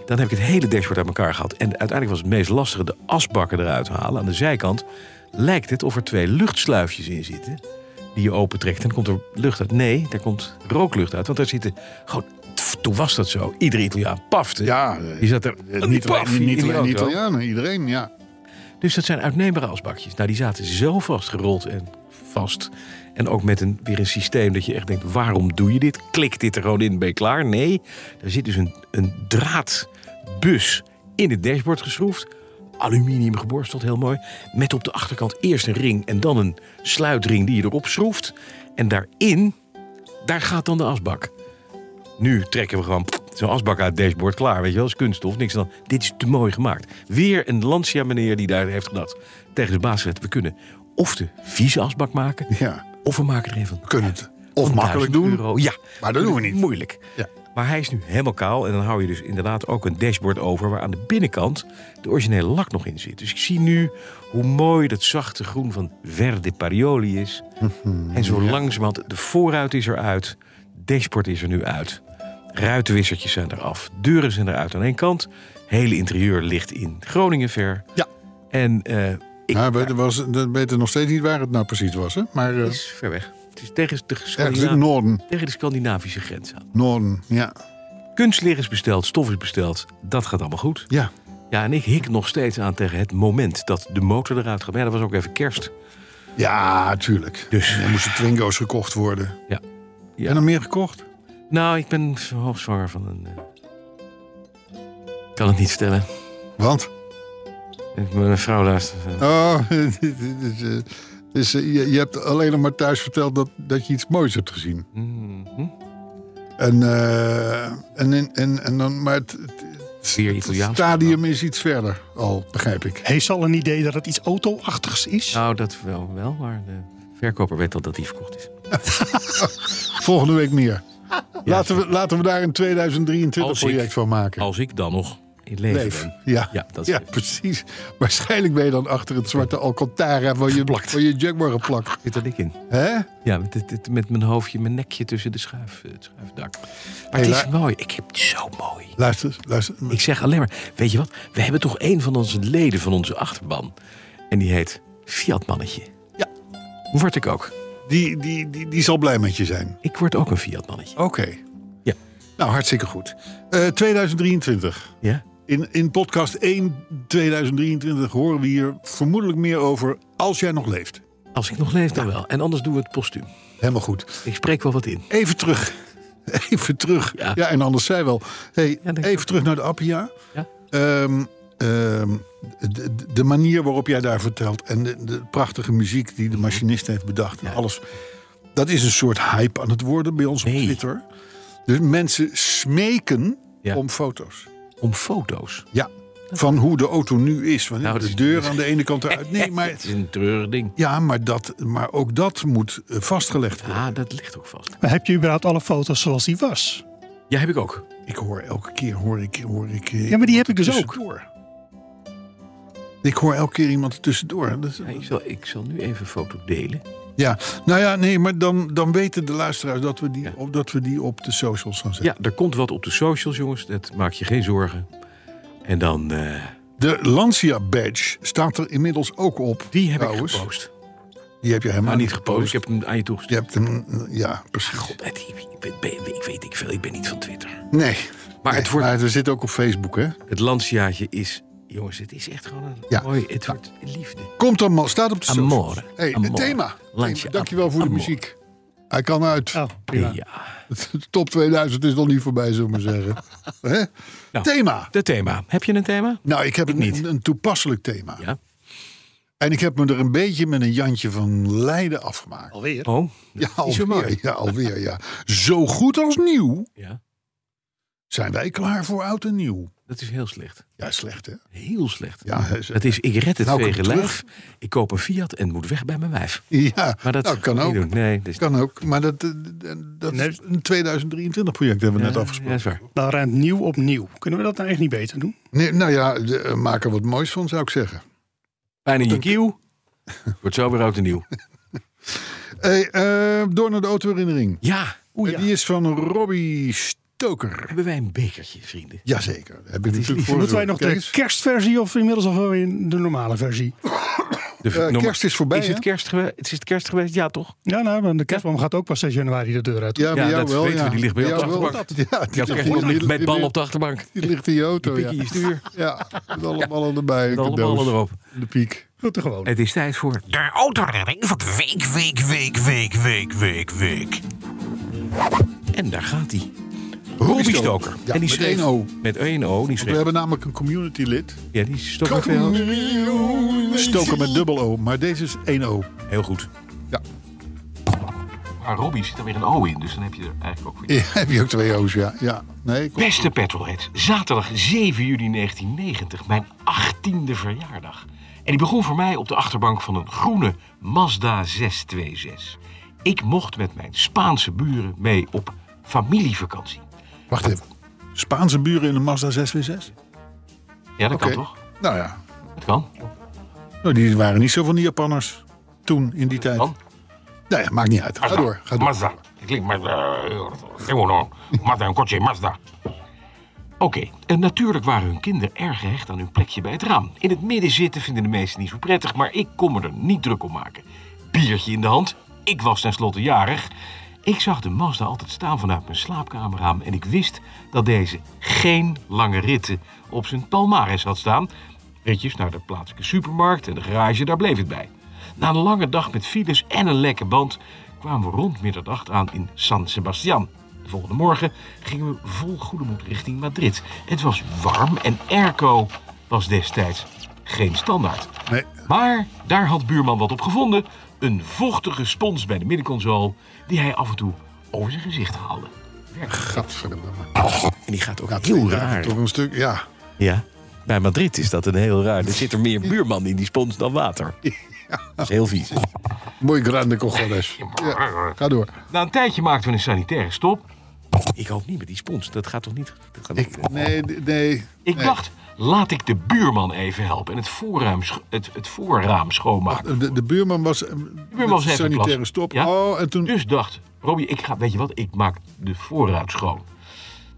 Speaker 3: Dan heb ik het hele dashboard uit elkaar gehad. En uiteindelijk was het meest lastige de asbakken eruit halen. Aan de zijkant lijkt het of er twee luchtsluifjes in zitten. Die je opentrekt en dan komt er lucht uit. Nee, daar komt rooklucht uit. Want daar zitten gewoon... Tf, toen was dat zo. Iedere Italiaan pafte.
Speaker 2: Ja,
Speaker 3: Oh, Die zat er...
Speaker 2: eh, niet
Speaker 3: paf,
Speaker 2: alleen,
Speaker 3: in
Speaker 2: niet
Speaker 3: die
Speaker 2: alleen
Speaker 3: auto.
Speaker 2: Italianen, iedereen, ja.
Speaker 3: Dus dat zijn uitneembare asbakjes. Nou, die zaten zo vastgerold en vast. En ook met een, weer een systeem dat je echt denkt: waarom doe je dit? Klik dit er gewoon in, ben je klaar? Nee, daar zit dus een, een draadbus in het dashboard geschroefd. Aluminium geborsteld, heel mooi. Met op de achterkant eerst een ring en dan een sluitring die je erop schroeft. En daarin, daar gaat dan de asbak. Nu trekken we gewoon pff, zo'n asbak uit het dashboard klaar. Weet je wel, is kunststof, niks dan. Dit is te mooi gemaakt. Weer een Lancia-meneer die daar heeft gedacht tegen de baas gezegd, We kunnen of de vieze asbak maken,
Speaker 2: ja.
Speaker 3: of we maken er een van.
Speaker 2: We kunnen het of makkelijk
Speaker 3: 1000
Speaker 2: doen,
Speaker 3: euro. Ja,
Speaker 2: maar dat doen we niet.
Speaker 3: Moeilijk.
Speaker 2: Ja.
Speaker 3: Maar hij is nu helemaal kaal. En dan hou je dus inderdaad ook een dashboard over. waar aan de binnenkant de originele lak nog in zit. Dus ik zie nu hoe mooi dat zachte groen van Verde Parioli is.
Speaker 2: Mhm.
Speaker 3: en zo langzamerhand, de voorruit is eruit. Dashboard is er nu uit. Ruitenwissertjes zijn eraf. Deuren zijn eruit aan één kant. Hele interieur ligt in Groningen ver.
Speaker 2: Ja.
Speaker 3: En eh, ik.
Speaker 2: Ja, we, was, we weten nog steeds niet waar het nou precies was. Hè? Maar eh,
Speaker 3: het is ver weg. Het is tegen de,
Speaker 2: ergens in het
Speaker 3: Scandina-
Speaker 2: noorden.
Speaker 3: tegen de Scandinavische grens aan.
Speaker 2: Noorden, ja.
Speaker 3: Kunstleer is besteld, stof is besteld. Dat gaat allemaal goed.
Speaker 2: Ja,
Speaker 3: Ja, en ik hik nog steeds aan tegen het moment dat de motor eruit gaat. Maar ja, dat was ook even kerst.
Speaker 2: ja tuurlijk.
Speaker 3: Dus.
Speaker 2: Er moesten Twingo's gekocht worden.
Speaker 3: Ja. Ja.
Speaker 2: En er meer gekocht?
Speaker 3: Nou, ik ben hoogzwanger van een... eh, Ik kan het niet stellen.
Speaker 2: Want?
Speaker 3: Mijn vrouw luistert. eh,
Speaker 2: Oh, dit is, eh, dus, eh, je, je hebt alleen nog maar thuis verteld dat, dat je iets moois hebt gezien.
Speaker 3: mhm.
Speaker 2: En, eh, en, en, en, en dan, maar het, het- het-
Speaker 3: Weer
Speaker 2: het
Speaker 3: Italiaans.
Speaker 2: stadium is iets verder al, begrijp ik.
Speaker 4: Heeft ze al een idee dat het iets auto-achtigs is?
Speaker 3: Nou, dat wel, wel, maar de verkoper weet al dat die verkocht is.
Speaker 2: Volgende week meer. Laten, we, laten we daar een 2023
Speaker 3: Als ik-
Speaker 2: project van maken.
Speaker 3: Als ik dan nog in leven
Speaker 2: Leef.
Speaker 3: ben.
Speaker 2: Ja,
Speaker 3: Ja, dat is
Speaker 2: ja
Speaker 3: het.
Speaker 2: precies. Waarschijnlijk ben je dan achter het zwarte Alcantara van je,
Speaker 3: Geplakt.
Speaker 2: van je Jaguar geplakt.
Speaker 3: Zit er dik in.
Speaker 2: Hè?
Speaker 3: Ja, met, het- het- met mijn hoofdje, mijn nekje tussen de schuif, eh, het schuifdak. Maar
Speaker 2: Hey,
Speaker 3: het is
Speaker 2: la-
Speaker 3: mooi. Ik heb het zo mooi.
Speaker 2: Luister, luister.
Speaker 3: Ik zeg alleen maar, weet je wat? We hebben toch een van onze leden van onze achterban. En die heet Fiatmannetje.
Speaker 2: Ja.
Speaker 3: Word ik ook.
Speaker 2: Die, die, die, die zal blij met je zijn.
Speaker 3: Ik word ook een Fiatmannetje.
Speaker 2: Oké.
Speaker 3: Ja.
Speaker 2: Nou, hartstikke goed. Eh, 2023.
Speaker 3: Ja?
Speaker 2: In, in podcast 1 2023 horen we hier vermoedelijk meer over als jij nog leeft.
Speaker 3: Als ik nog leef, dan wel. En anders doen we het postuum.
Speaker 2: Helemaal goed.
Speaker 3: Ik spreek wel wat in.
Speaker 2: Even terug. Even terug. Ja,
Speaker 3: Ja.
Speaker 2: en anders zij wel. Hey,
Speaker 3: denk ik
Speaker 2: even
Speaker 3: ook.
Speaker 2: terug naar de Appia.
Speaker 3: Ja?
Speaker 2: Ehm, ehm, de, de- de manier waarop jij daar vertelt en de, de prachtige muziek die de machinist heeft bedacht en
Speaker 3: Mhm. Ja.
Speaker 2: alles. Dat is een soort hype aan het worden bij ons op
Speaker 3: Nee.
Speaker 2: Twitter. Dus mensen smeken
Speaker 3: Ja.
Speaker 2: om foto's.
Speaker 3: Om foto's.
Speaker 2: Ja, van hoe de auto nu is. Want
Speaker 3: Nou,
Speaker 2: de
Speaker 3: dat is-
Speaker 2: deur aan de ene kant eruit. Nee, maar,
Speaker 3: Het is een treurig ding.
Speaker 2: ja, maar, dat, maar ook dat moet eh, vastgelegd worden.
Speaker 3: Ah, dat ligt ook vast.
Speaker 4: Maar heb je überhaupt alle foto's zoals die was?
Speaker 3: Ja, heb ik ook.
Speaker 2: Ik hoor elke keer, hoor ik, hoor ik... eh,
Speaker 4: Ja, maar die heb ik dus ook.
Speaker 2: tussendoor. Ik hoor elke keer iemand er tussendoor. Dat is-
Speaker 3: Ja, ik, zal, ik zal nu even een foto delen.
Speaker 2: Ja, nou ja, nee, maar dan, dan weten de luisteraars dat we, die,
Speaker 3: Ja.
Speaker 2: op, dat we die op de socials gaan zetten.
Speaker 3: Ja, er komt wat op de socials, jongens. Dat maak je geen zorgen. En dan... eh,
Speaker 2: De Lancia badge staat er inmiddels ook op.
Speaker 3: die heb
Speaker 2: trouwens.
Speaker 3: ik gepost.
Speaker 2: Die heb je helemaal
Speaker 3: Maar niet gepost. Ik heb hem aan je toegestuurd.
Speaker 2: Je hebt hem, ja, precies.
Speaker 3: God, Ed, ik, ben- ben- ik weet ik veel, ik ben niet van Twitter.
Speaker 2: nee,
Speaker 3: Maar
Speaker 2: nee,
Speaker 3: het wordt,
Speaker 2: maar er zit ook op Facebook, hè?
Speaker 3: het Lanciaatje is, jongens, het is echt gewoon een
Speaker 2: Ja.
Speaker 3: mooi, het wordt liefde.
Speaker 2: Komt allemaal, staat op de socials.
Speaker 3: Amore.
Speaker 2: Hey, het
Speaker 3: Amore.
Speaker 2: thema.
Speaker 3: Lancia.
Speaker 2: Dankjewel voor de
Speaker 3: Amore.
Speaker 2: muziek. Hij kan uit.
Speaker 4: Oh,
Speaker 3: Ja.
Speaker 4: prima.
Speaker 2: Top 2000 is nog niet voorbij, zullen we maar zeggen. Hè?
Speaker 3: Nou.
Speaker 2: Thema.
Speaker 3: De thema. Heb je een thema?
Speaker 2: Nou, ik heb een,
Speaker 3: niet.
Speaker 2: een, een toepasselijk thema.
Speaker 3: Ja.
Speaker 2: En ik heb me er een beetje met een Jantje van Leiden afgemaakt.
Speaker 4: Alweer?
Speaker 3: Oh,
Speaker 2: Ja,
Speaker 3: is zo
Speaker 2: alweer.
Speaker 3: mooi.
Speaker 2: Ja, alweer, ja. Zo goed als nieuw
Speaker 3: ja.
Speaker 2: zijn wij klaar voor oud en nieuw.
Speaker 3: Dat is heel slecht.
Speaker 2: Ja, slecht hè?
Speaker 3: Heel slecht.
Speaker 2: Ja, hè, ze-
Speaker 3: Dat is, ik red het
Speaker 2: Nou, ik
Speaker 3: vege
Speaker 2: terug.
Speaker 3: lijf, ik koop een Fiat en moet weg bij mijn wijf.
Speaker 2: ja
Speaker 3: Maar dat
Speaker 2: nou, kan
Speaker 3: ga ik
Speaker 2: ook.
Speaker 3: niet doen. Nee, dat is
Speaker 2: Kan ook. Maar dat, eh, dat is een 2023 project hebben we net
Speaker 3: Ja, dat
Speaker 2: afgesproken.
Speaker 3: is waar.
Speaker 4: Dan ruimt nieuw op nieuw. Kunnen we dat nou echt niet beter doen?
Speaker 2: Nee, nou ja, de- eh, maak er wat moois van, zou ik zeggen.
Speaker 3: Pijn in je kieuw. Wordt zo weer oud en nieuw.
Speaker 2: Hey, eh, door naar de autoherinnering.
Speaker 3: Oh Ja,
Speaker 4: Oeh,
Speaker 2: En
Speaker 4: ja.
Speaker 2: die is van Robbie Stoker.
Speaker 3: Hebben wij een bekertje, vrienden?
Speaker 2: Jazeker. Daar Heb ik natuurlijk voor
Speaker 4: Moeten wij
Speaker 2: gezorgd.
Speaker 4: nog
Speaker 2: Kijk
Speaker 4: de
Speaker 2: eens.
Speaker 4: kerstversie of inmiddels alweer de normale versie?
Speaker 3: De
Speaker 2: Eh,
Speaker 3: nummer-
Speaker 2: kerst is voorbij,
Speaker 3: Is het,
Speaker 2: hè?
Speaker 3: kerst geweest? is het kerst geweest? Ja, toch?
Speaker 4: Ja, nou, maar de kerstboom gaat ook pas 6 januari de deur uit.
Speaker 2: Ja, bij
Speaker 3: Ja,
Speaker 2: jou
Speaker 3: dat
Speaker 2: wel,
Speaker 3: weten
Speaker 2: ja.
Speaker 3: we, die ligt bij jou
Speaker 2: jou
Speaker 3: op de
Speaker 2: wel.
Speaker 3: achterbank.
Speaker 2: Ja,
Speaker 3: Ja,
Speaker 2: die,
Speaker 3: kerst
Speaker 2: ligt- die
Speaker 3: met,
Speaker 2: ligt-
Speaker 3: met bal
Speaker 2: die
Speaker 3: op de achterbank.
Speaker 2: ligt- Die ligt in je auto,
Speaker 3: Pikkie
Speaker 2: ja.
Speaker 3: is duur.
Speaker 2: Ja, met alle ballen erbij. en
Speaker 3: Met alle
Speaker 2: cadeaus.
Speaker 3: ballen erop.
Speaker 2: De piek.
Speaker 4: Goed er gewoon.
Speaker 3: Het is tijd voor
Speaker 5: De autoredding van de week, week, week, week, week, week, week.
Speaker 3: En daar gaat hij. Robbie Stoker.
Speaker 2: Ja,
Speaker 3: en die
Speaker 2: met
Speaker 3: schreef-
Speaker 2: één O.
Speaker 3: Met één O. Die
Speaker 2: We
Speaker 3: schreef,
Speaker 2: hebben namelijk een community lid.
Speaker 3: ja, die Stoker veel.
Speaker 2: Stoker met dubbel O, maar deze is 1 O.
Speaker 3: Heel goed.
Speaker 2: Ja.
Speaker 3: Maar Robbie zit er weer een O in, dus dan heb je er eigenlijk ook weer.
Speaker 2: Ja, heb je ook twee O's, ja. ja. Nee, kom.
Speaker 3: Beste Petrolheads, zaterdag 7 juli 1990, mijn 18e verjaardag. En die begon voor mij op de achterbank van een groene Mazda 626. Ik mocht met mijn Spaanse buren mee op familievakantie.
Speaker 2: Wacht even. Spaanse buren in een Mazda 6W6?
Speaker 3: Ja, dat
Speaker 2: Oké.
Speaker 3: kan toch?
Speaker 2: Nou ja,
Speaker 3: Dat kan.
Speaker 2: nou, die waren niet zo van die Japanners toen, in die tijd.
Speaker 3: Kan.
Speaker 2: Nou ja, maakt niet uit. Ga door. Ga door.
Speaker 3: Mazda. Het klinkt Ah, maar... Gewoon Mazda, een kotje, Mazda. Oké, en natuurlijk waren hun kinderen erg gehecht aan hun plekje bij het raam. In het midden zitten vinden de meesten niet zo prettig, maar ik kon me er niet druk om maken. Biertje in de hand, ik was tenslotte jarig. Ik zag de Mazda altijd staan vanuit mijn slaapkamerraam en ik wist dat deze geen lange ritten op zijn palmares had staan. Ritjes naar de plaatselijke supermarkt en de garage, daar bleef het bij. Na een lange dag met files en een lekke band kwamen we rond middernacht aan in San Sebastian. De volgende morgen gingen we vol goede moed richting Madrid. Het was warm en airco was destijds geen standaard.
Speaker 2: Nee.
Speaker 3: Maar daar had buurman wat op gevonden. Een vochtige spons bij de middenconsole die hij af en toe over zijn gezicht haalde. Ah,
Speaker 2: Gadverdamme.
Speaker 3: En die gaat ook
Speaker 2: Twee dagen Toch een stuk, ja.
Speaker 3: Ja, bij Madrid is dat een heel raar. Er zit er meer buurman in die spons dan water. Dat is heel vies.
Speaker 2: Mooi grande cojones. Ja, ga door.
Speaker 3: Na een tijdje maakten we een sanitaire stop. Ik hoop niet met die spons. Dat gaat toch niet? Dat gaat niet.
Speaker 2: Ik, nee, d- nee.
Speaker 3: Ik
Speaker 2: nee.
Speaker 3: dacht, laat ik de buurman even helpen en het voorraam, scho- het, het voorraam schoonmaken.
Speaker 2: De, de buurman was eh,
Speaker 3: buurman
Speaker 2: met
Speaker 3: was even
Speaker 2: sanitaire
Speaker 3: klas.
Speaker 2: stop.
Speaker 3: Ja.
Speaker 2: Oh, en toen...
Speaker 3: Dus dacht, Robbie, ik ga, weet je wat, ik maak de voorraad schoon.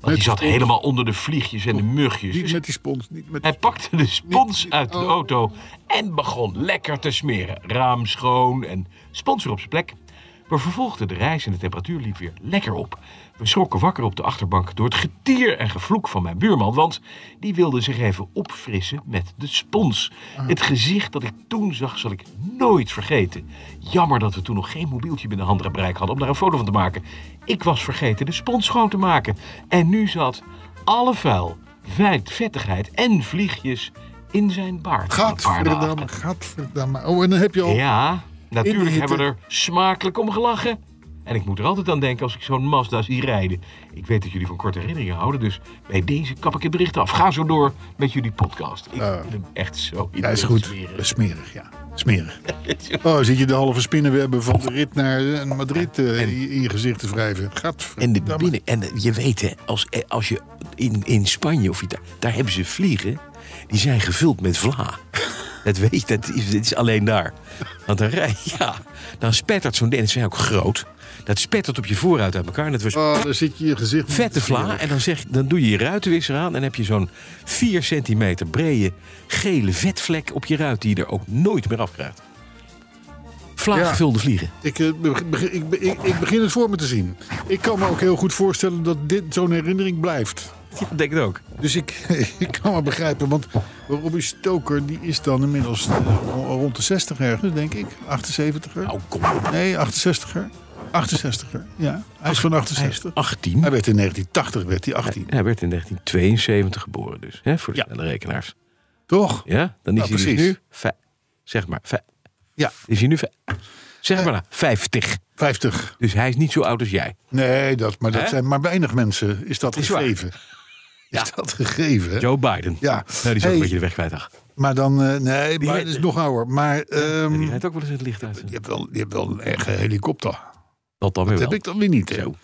Speaker 3: Want
Speaker 2: Met
Speaker 3: die zat
Speaker 2: spons.
Speaker 3: helemaal onder de vliegjes en de mugjes.
Speaker 2: Niet
Speaker 3: Dus
Speaker 2: met die spons. Niet met...
Speaker 3: hij pakte de spons
Speaker 2: niet-
Speaker 3: uit de
Speaker 2: oh.
Speaker 3: auto en begon lekker te smeren. Raam schoon en spons weer op zijn plek. We vervolgden de reis en de temperatuur liep weer lekker op. We schrokken wakker op de achterbank door het getier en gevloek van mijn buurman, want die wilde zich even opfrissen met de spons.
Speaker 2: Ah.
Speaker 3: Het gezicht dat ik toen zag zal ik nooit vergeten. Jammer dat we toen nog geen mobieltje binnen handbereik hadden om daar een foto van te maken. Ik was vergeten de spons schoon te maken. En nu zat alle vuil, vet- vettigheid en vliegjes in zijn baard. van een paar dagen.
Speaker 2: Gadverdamme, gadverdamme. Oh, en dan heb je al...
Speaker 3: Ja,
Speaker 2: In de
Speaker 3: natuurlijk
Speaker 2: hitte.
Speaker 3: hebben we er smakelijk om gelachen. En ik moet er altijd aan denken als ik zo'n Mazda zie rijden. Ik weet dat jullie van korte herinneringen houden, dus bij deze kap ik het bericht af. Ga zo door met jullie podcast. Ik vind hem echt zo
Speaker 2: Ja, is
Speaker 3: intens
Speaker 2: goed.
Speaker 3: smerig.
Speaker 2: Smerig, ja. Smerig. Oh, zit je de halve spinnenwebben van de rit naar eh, Madrid eh,
Speaker 3: En-
Speaker 2: in je gezicht te wrijven. Gadverdamme.
Speaker 6: En, de binnen, en de- je weet, hè, als, eh, als je in, in Spanje of Italië... daar hebben ze vliegen, die zijn gevuld met vla. Dat weet je, dat is, dat is alleen daar. Want dan rij ja, dan spettert zo'n ding, en ze zijn ook groot... dat spettert op je vooruit uit elkaar. En dat was
Speaker 2: Oh, daar zit je je gezicht...
Speaker 6: vette vla. En dan, zeg, dan doe je je ruitenwisser aan... en heb je zo'n 4 centimeter brede gele vetvlek op je ruit... die je er ook nooit meer afkrijgt. Vla
Speaker 2: Ja.
Speaker 6: gevulde vliegen.
Speaker 2: Ik, eh, beg- beg- ik, be- ik, ik begin het voor me te zien. Ik kan me ook heel goed voorstellen dat dit zo'n herinnering blijft.
Speaker 6: Ja, denk het ook.
Speaker 2: Dus ik, ik kan me begrijpen, want Robbie Stoker die is dan inmiddels eh, ro- rond de 60 ergens, denk ik. 78er.
Speaker 3: Oh.
Speaker 6: Nou, kom op.
Speaker 2: Nee, 68er. 68er, ja. Hij is van 68.
Speaker 6: 18.
Speaker 2: Hij werd in 1980 werd hij 18.
Speaker 3: Hij werd in 1972 geboren dus, hè, voor de
Speaker 2: Ja.
Speaker 3: snelle rekenaars.
Speaker 2: Toch?
Speaker 3: Ja, dan
Speaker 2: Nou,
Speaker 3: is hij dus
Speaker 2: precies.
Speaker 3: nu... vij- Zeg maar, vij-
Speaker 2: Ja.
Speaker 3: is hij nu... vij- Zeg maar, nou, 50.
Speaker 2: 50.
Speaker 3: Dus hij is niet zo oud als jij.
Speaker 2: Nee, dat, maar dat
Speaker 3: Hè?
Speaker 2: zijn maar weinig mensen. Is dat
Speaker 3: Is waar.
Speaker 2: gegeven? Is dat gegeven? hè?
Speaker 3: Joe Biden.
Speaker 2: Ja.
Speaker 3: Nou, die is ook
Speaker 2: Hey.
Speaker 3: een beetje de weg kwijt. ach.
Speaker 2: Maar dan, eh, nee,
Speaker 3: Die
Speaker 2: maar
Speaker 3: rijdt-
Speaker 2: is nog ouder. Maar ehm,
Speaker 3: Die rijdt ook wel eens het licht uit.
Speaker 2: je, hebt wel, je hebt wel een eigen helikopter.
Speaker 3: Dat dan weer
Speaker 2: Dat
Speaker 3: wel.
Speaker 2: heb ik dan weer niet. hè?
Speaker 3: Zo.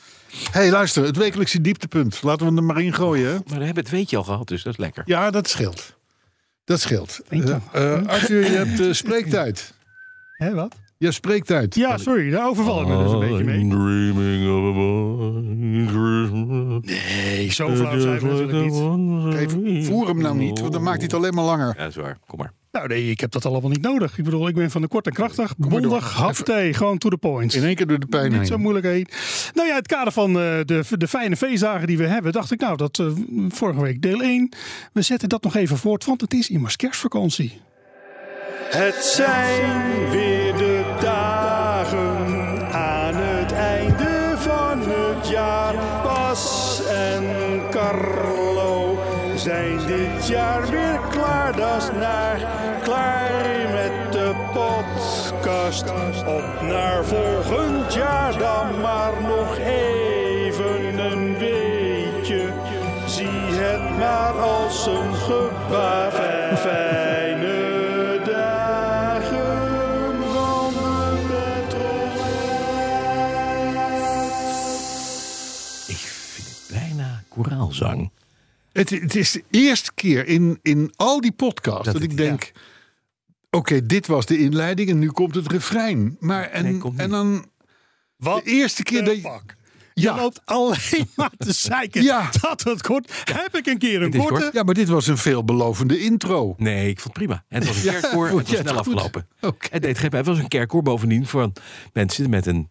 Speaker 2: hey, luister, het wekelijkse dieptepunt. Laten we hem er maar in gooien. hè?
Speaker 3: Maar we hebben het weetje al gehad, dus dat is lekker.
Speaker 2: Ja, dat scheelt. Dat scheelt.
Speaker 4: Dank je.
Speaker 2: Eh, eh, Arthur, je hebt eh, spreektijd.
Speaker 4: Hè, wat?
Speaker 2: Je hebt spreektijd. Oh,
Speaker 4: Ja, sorry, daar overval ik me dus een beetje mee.
Speaker 3: dreaming of a boy.
Speaker 4: zo flauw zijn we natuurlijk niet.
Speaker 2: Kijk, voer hem nou niet, want dan maakt hij het alleen maar langer.
Speaker 7: Ja, dat is waar. Kom maar.
Speaker 4: Nou nee, ik heb dat allemaal niet nodig. Ik bedoel, ik ben van de kort en krachtig,
Speaker 2: maar door.
Speaker 4: bondig, hapte, gewoon to the point.
Speaker 2: In één keer door de pijn
Speaker 4: Niet zo
Speaker 2: heen.
Speaker 4: moeilijk heen. Nou ja, in het kader van eh, de, de fijne feestdagen die we hebben, dacht ik nou dat eh, vorige week deel 1. We zetten dat nog even voort, want het is immers kerstvakantie.
Speaker 8: Het zijn weer de dagen aan het einde van het jaar. Bas en Carlo zijn dit jaar weer klaar. Dat is naar klaar met de podcast. Op naar volgend jaar dan maar nog even een weetje. Zie het maar als een gebaar. Fijne dagen van een
Speaker 3: Ik vind het bijna koraalzang.
Speaker 2: Het, het is de eerste keer in, in al die podcasts dat,
Speaker 3: Dat het-
Speaker 2: ik denk... Oké, dit was de inleiding en nu komt het refrein. Maar en,
Speaker 3: Nee, komt niet.
Speaker 2: en dan
Speaker 4: Wat
Speaker 2: de eerste keer dat je...
Speaker 4: Oh, eh, fuck? Je
Speaker 2: Ja,
Speaker 4: loopt alleen maar te zeiken
Speaker 2: Ja.
Speaker 4: dat het kort. Heb ik een keer een
Speaker 3: Het is
Speaker 4: korte?
Speaker 2: ja, maar dit was een veelbelovende intro.
Speaker 3: Nee, ik vond het prima. En het was een
Speaker 2: Ja,
Speaker 3: kerkkoor. en
Speaker 2: vond
Speaker 3: het
Speaker 2: jij
Speaker 3: was snel
Speaker 2: het goed?
Speaker 3: afgelopen.
Speaker 2: Oké.
Speaker 3: Het deed geen pijn. Het was een kerkkoor bovendien voor mensen met een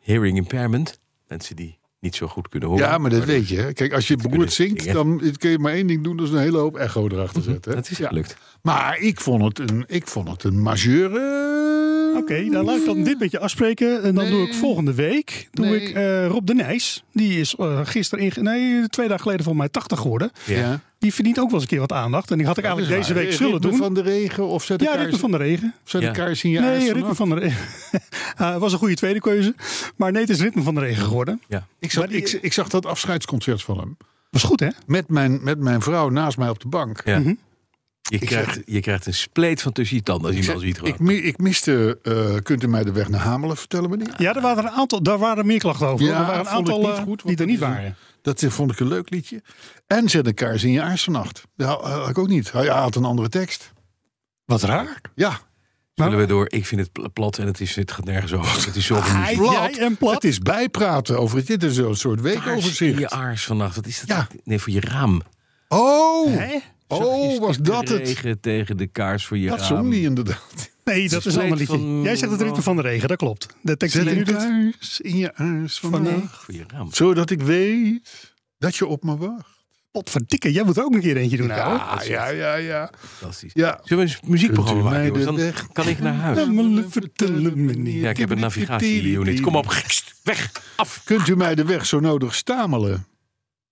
Speaker 3: hearing impairment. Mensen die niet zo goed kunnen horen.
Speaker 2: Ja, maar dat weet je. hè. Kijk, als je beroerd
Speaker 3: kunnen
Speaker 2: zingt, dan
Speaker 3: zingen.
Speaker 2: kun je maar één ding doen. Dat is een hele hoop echo erachter
Speaker 4: Mhm.
Speaker 2: zetten. hè.
Speaker 3: Dat is
Speaker 2: Ja.
Speaker 3: gelukt.
Speaker 2: Maar ik vond het een, ik vond het een majeure...
Speaker 4: Oké, dan laat ik dan dit met je afspreken. En dan doe ik volgende week doe
Speaker 2: Nee.
Speaker 4: ik, eh, Rob de Nijs. Die is eh, gisteren, inge- nee, twee dagen geleden van mij 80 geworden.
Speaker 2: Ja.
Speaker 4: Die verdient ook wel eens een keer wat aandacht. En die had ik
Speaker 2: Dat is
Speaker 4: eigenlijk deze
Speaker 2: waar. Eh,
Speaker 4: week
Speaker 2: Ritme
Speaker 4: zullen doen.
Speaker 2: van de regen of zet de
Speaker 4: Ja,
Speaker 2: kaars,
Speaker 4: Ritme van de Regen.
Speaker 2: zet de
Speaker 3: Ja.
Speaker 2: kaars in je aars
Speaker 4: Nee, Ritme
Speaker 2: vanaf.
Speaker 4: van de Regen. Eh, was een goede tweede keuze. Maar nee, het is Ritme van de Regen geworden.
Speaker 3: Ja.
Speaker 2: Ik zag,
Speaker 4: Maar die-
Speaker 2: ik, ik zag dat afscheidsconcert van hem.
Speaker 4: Was goed, hè?
Speaker 2: Met mijn, met mijn vrouw naast mij op de bank.
Speaker 3: Ja. Je,
Speaker 2: Ik
Speaker 3: krijgt, je krijgt een spleet van tussen je tanden als
Speaker 2: Ik,
Speaker 3: je
Speaker 2: zei,
Speaker 3: iemand ziet.
Speaker 2: ik,
Speaker 3: Gewoon.
Speaker 2: mi- ik miste, eh, kunt u mij de weg naar Hamelen vertellen, meneer?
Speaker 4: Ja, er waren een aantal, daar waren meer klachten over. hoor. er waren een
Speaker 2: vond ik
Speaker 4: aantal eh,
Speaker 2: want
Speaker 4: die er
Speaker 2: dat
Speaker 4: niet
Speaker 2: is een-
Speaker 4: waren.
Speaker 2: Dat vond ik een leuk liedje. En zet een kaars in je aars vannacht. Ja, eh, had ik ook niet. Hij had een andere tekst.
Speaker 4: Wat raar.
Speaker 2: Ja,
Speaker 3: Zullen we door? Ik vind het pl- plat en het, is, het gaat nergens over. Het is
Speaker 2: Ah,
Speaker 3: zo
Speaker 4: Hij,
Speaker 3: van
Speaker 2: Plat.
Speaker 4: jij en plat.
Speaker 2: het is bijpraten over het. Dit is een soort
Speaker 3: in
Speaker 2: weekoverzicht.
Speaker 3: je aars vannacht. Wat is dat?
Speaker 2: Ja.
Speaker 3: Nee, voor je raam.
Speaker 2: Oh,
Speaker 4: Hè?
Speaker 2: oh was dat het?
Speaker 3: Regen tegen de kaars voor je
Speaker 2: Dat
Speaker 3: raam.
Speaker 2: zong die inderdaad.
Speaker 4: Nee, dat is een
Speaker 3: spleet
Speaker 4: ander liedje.
Speaker 3: van-
Speaker 4: Jij zegt het Ritme van de Regen, dat klopt. De tekst
Speaker 2: eh, Zet
Speaker 4: die je nu
Speaker 2: een
Speaker 4: doet.
Speaker 2: kaars in je aars vannacht.
Speaker 3: Voor je raam.
Speaker 2: Zodat ik weet dat je op me wacht.
Speaker 4: Potverdikke, jij moet er ook een keer eentje doen, nou. ouwe.
Speaker 2: Ja, ja, ja, ja.
Speaker 3: Fantastisch.
Speaker 2: ja.
Speaker 3: Zullen we een muziekprogramma
Speaker 2: Kunt u
Speaker 3: maken?
Speaker 2: mij
Speaker 3: jongens?
Speaker 2: de
Speaker 3: Dan
Speaker 2: weg-
Speaker 3: kan ik naar huis.
Speaker 4: Namelijk vertellen, meneer.
Speaker 3: Ja, ik heb een navigatieunit. Kom op, weg, af.
Speaker 2: Kunt u mij de weg zo nodig stamelen?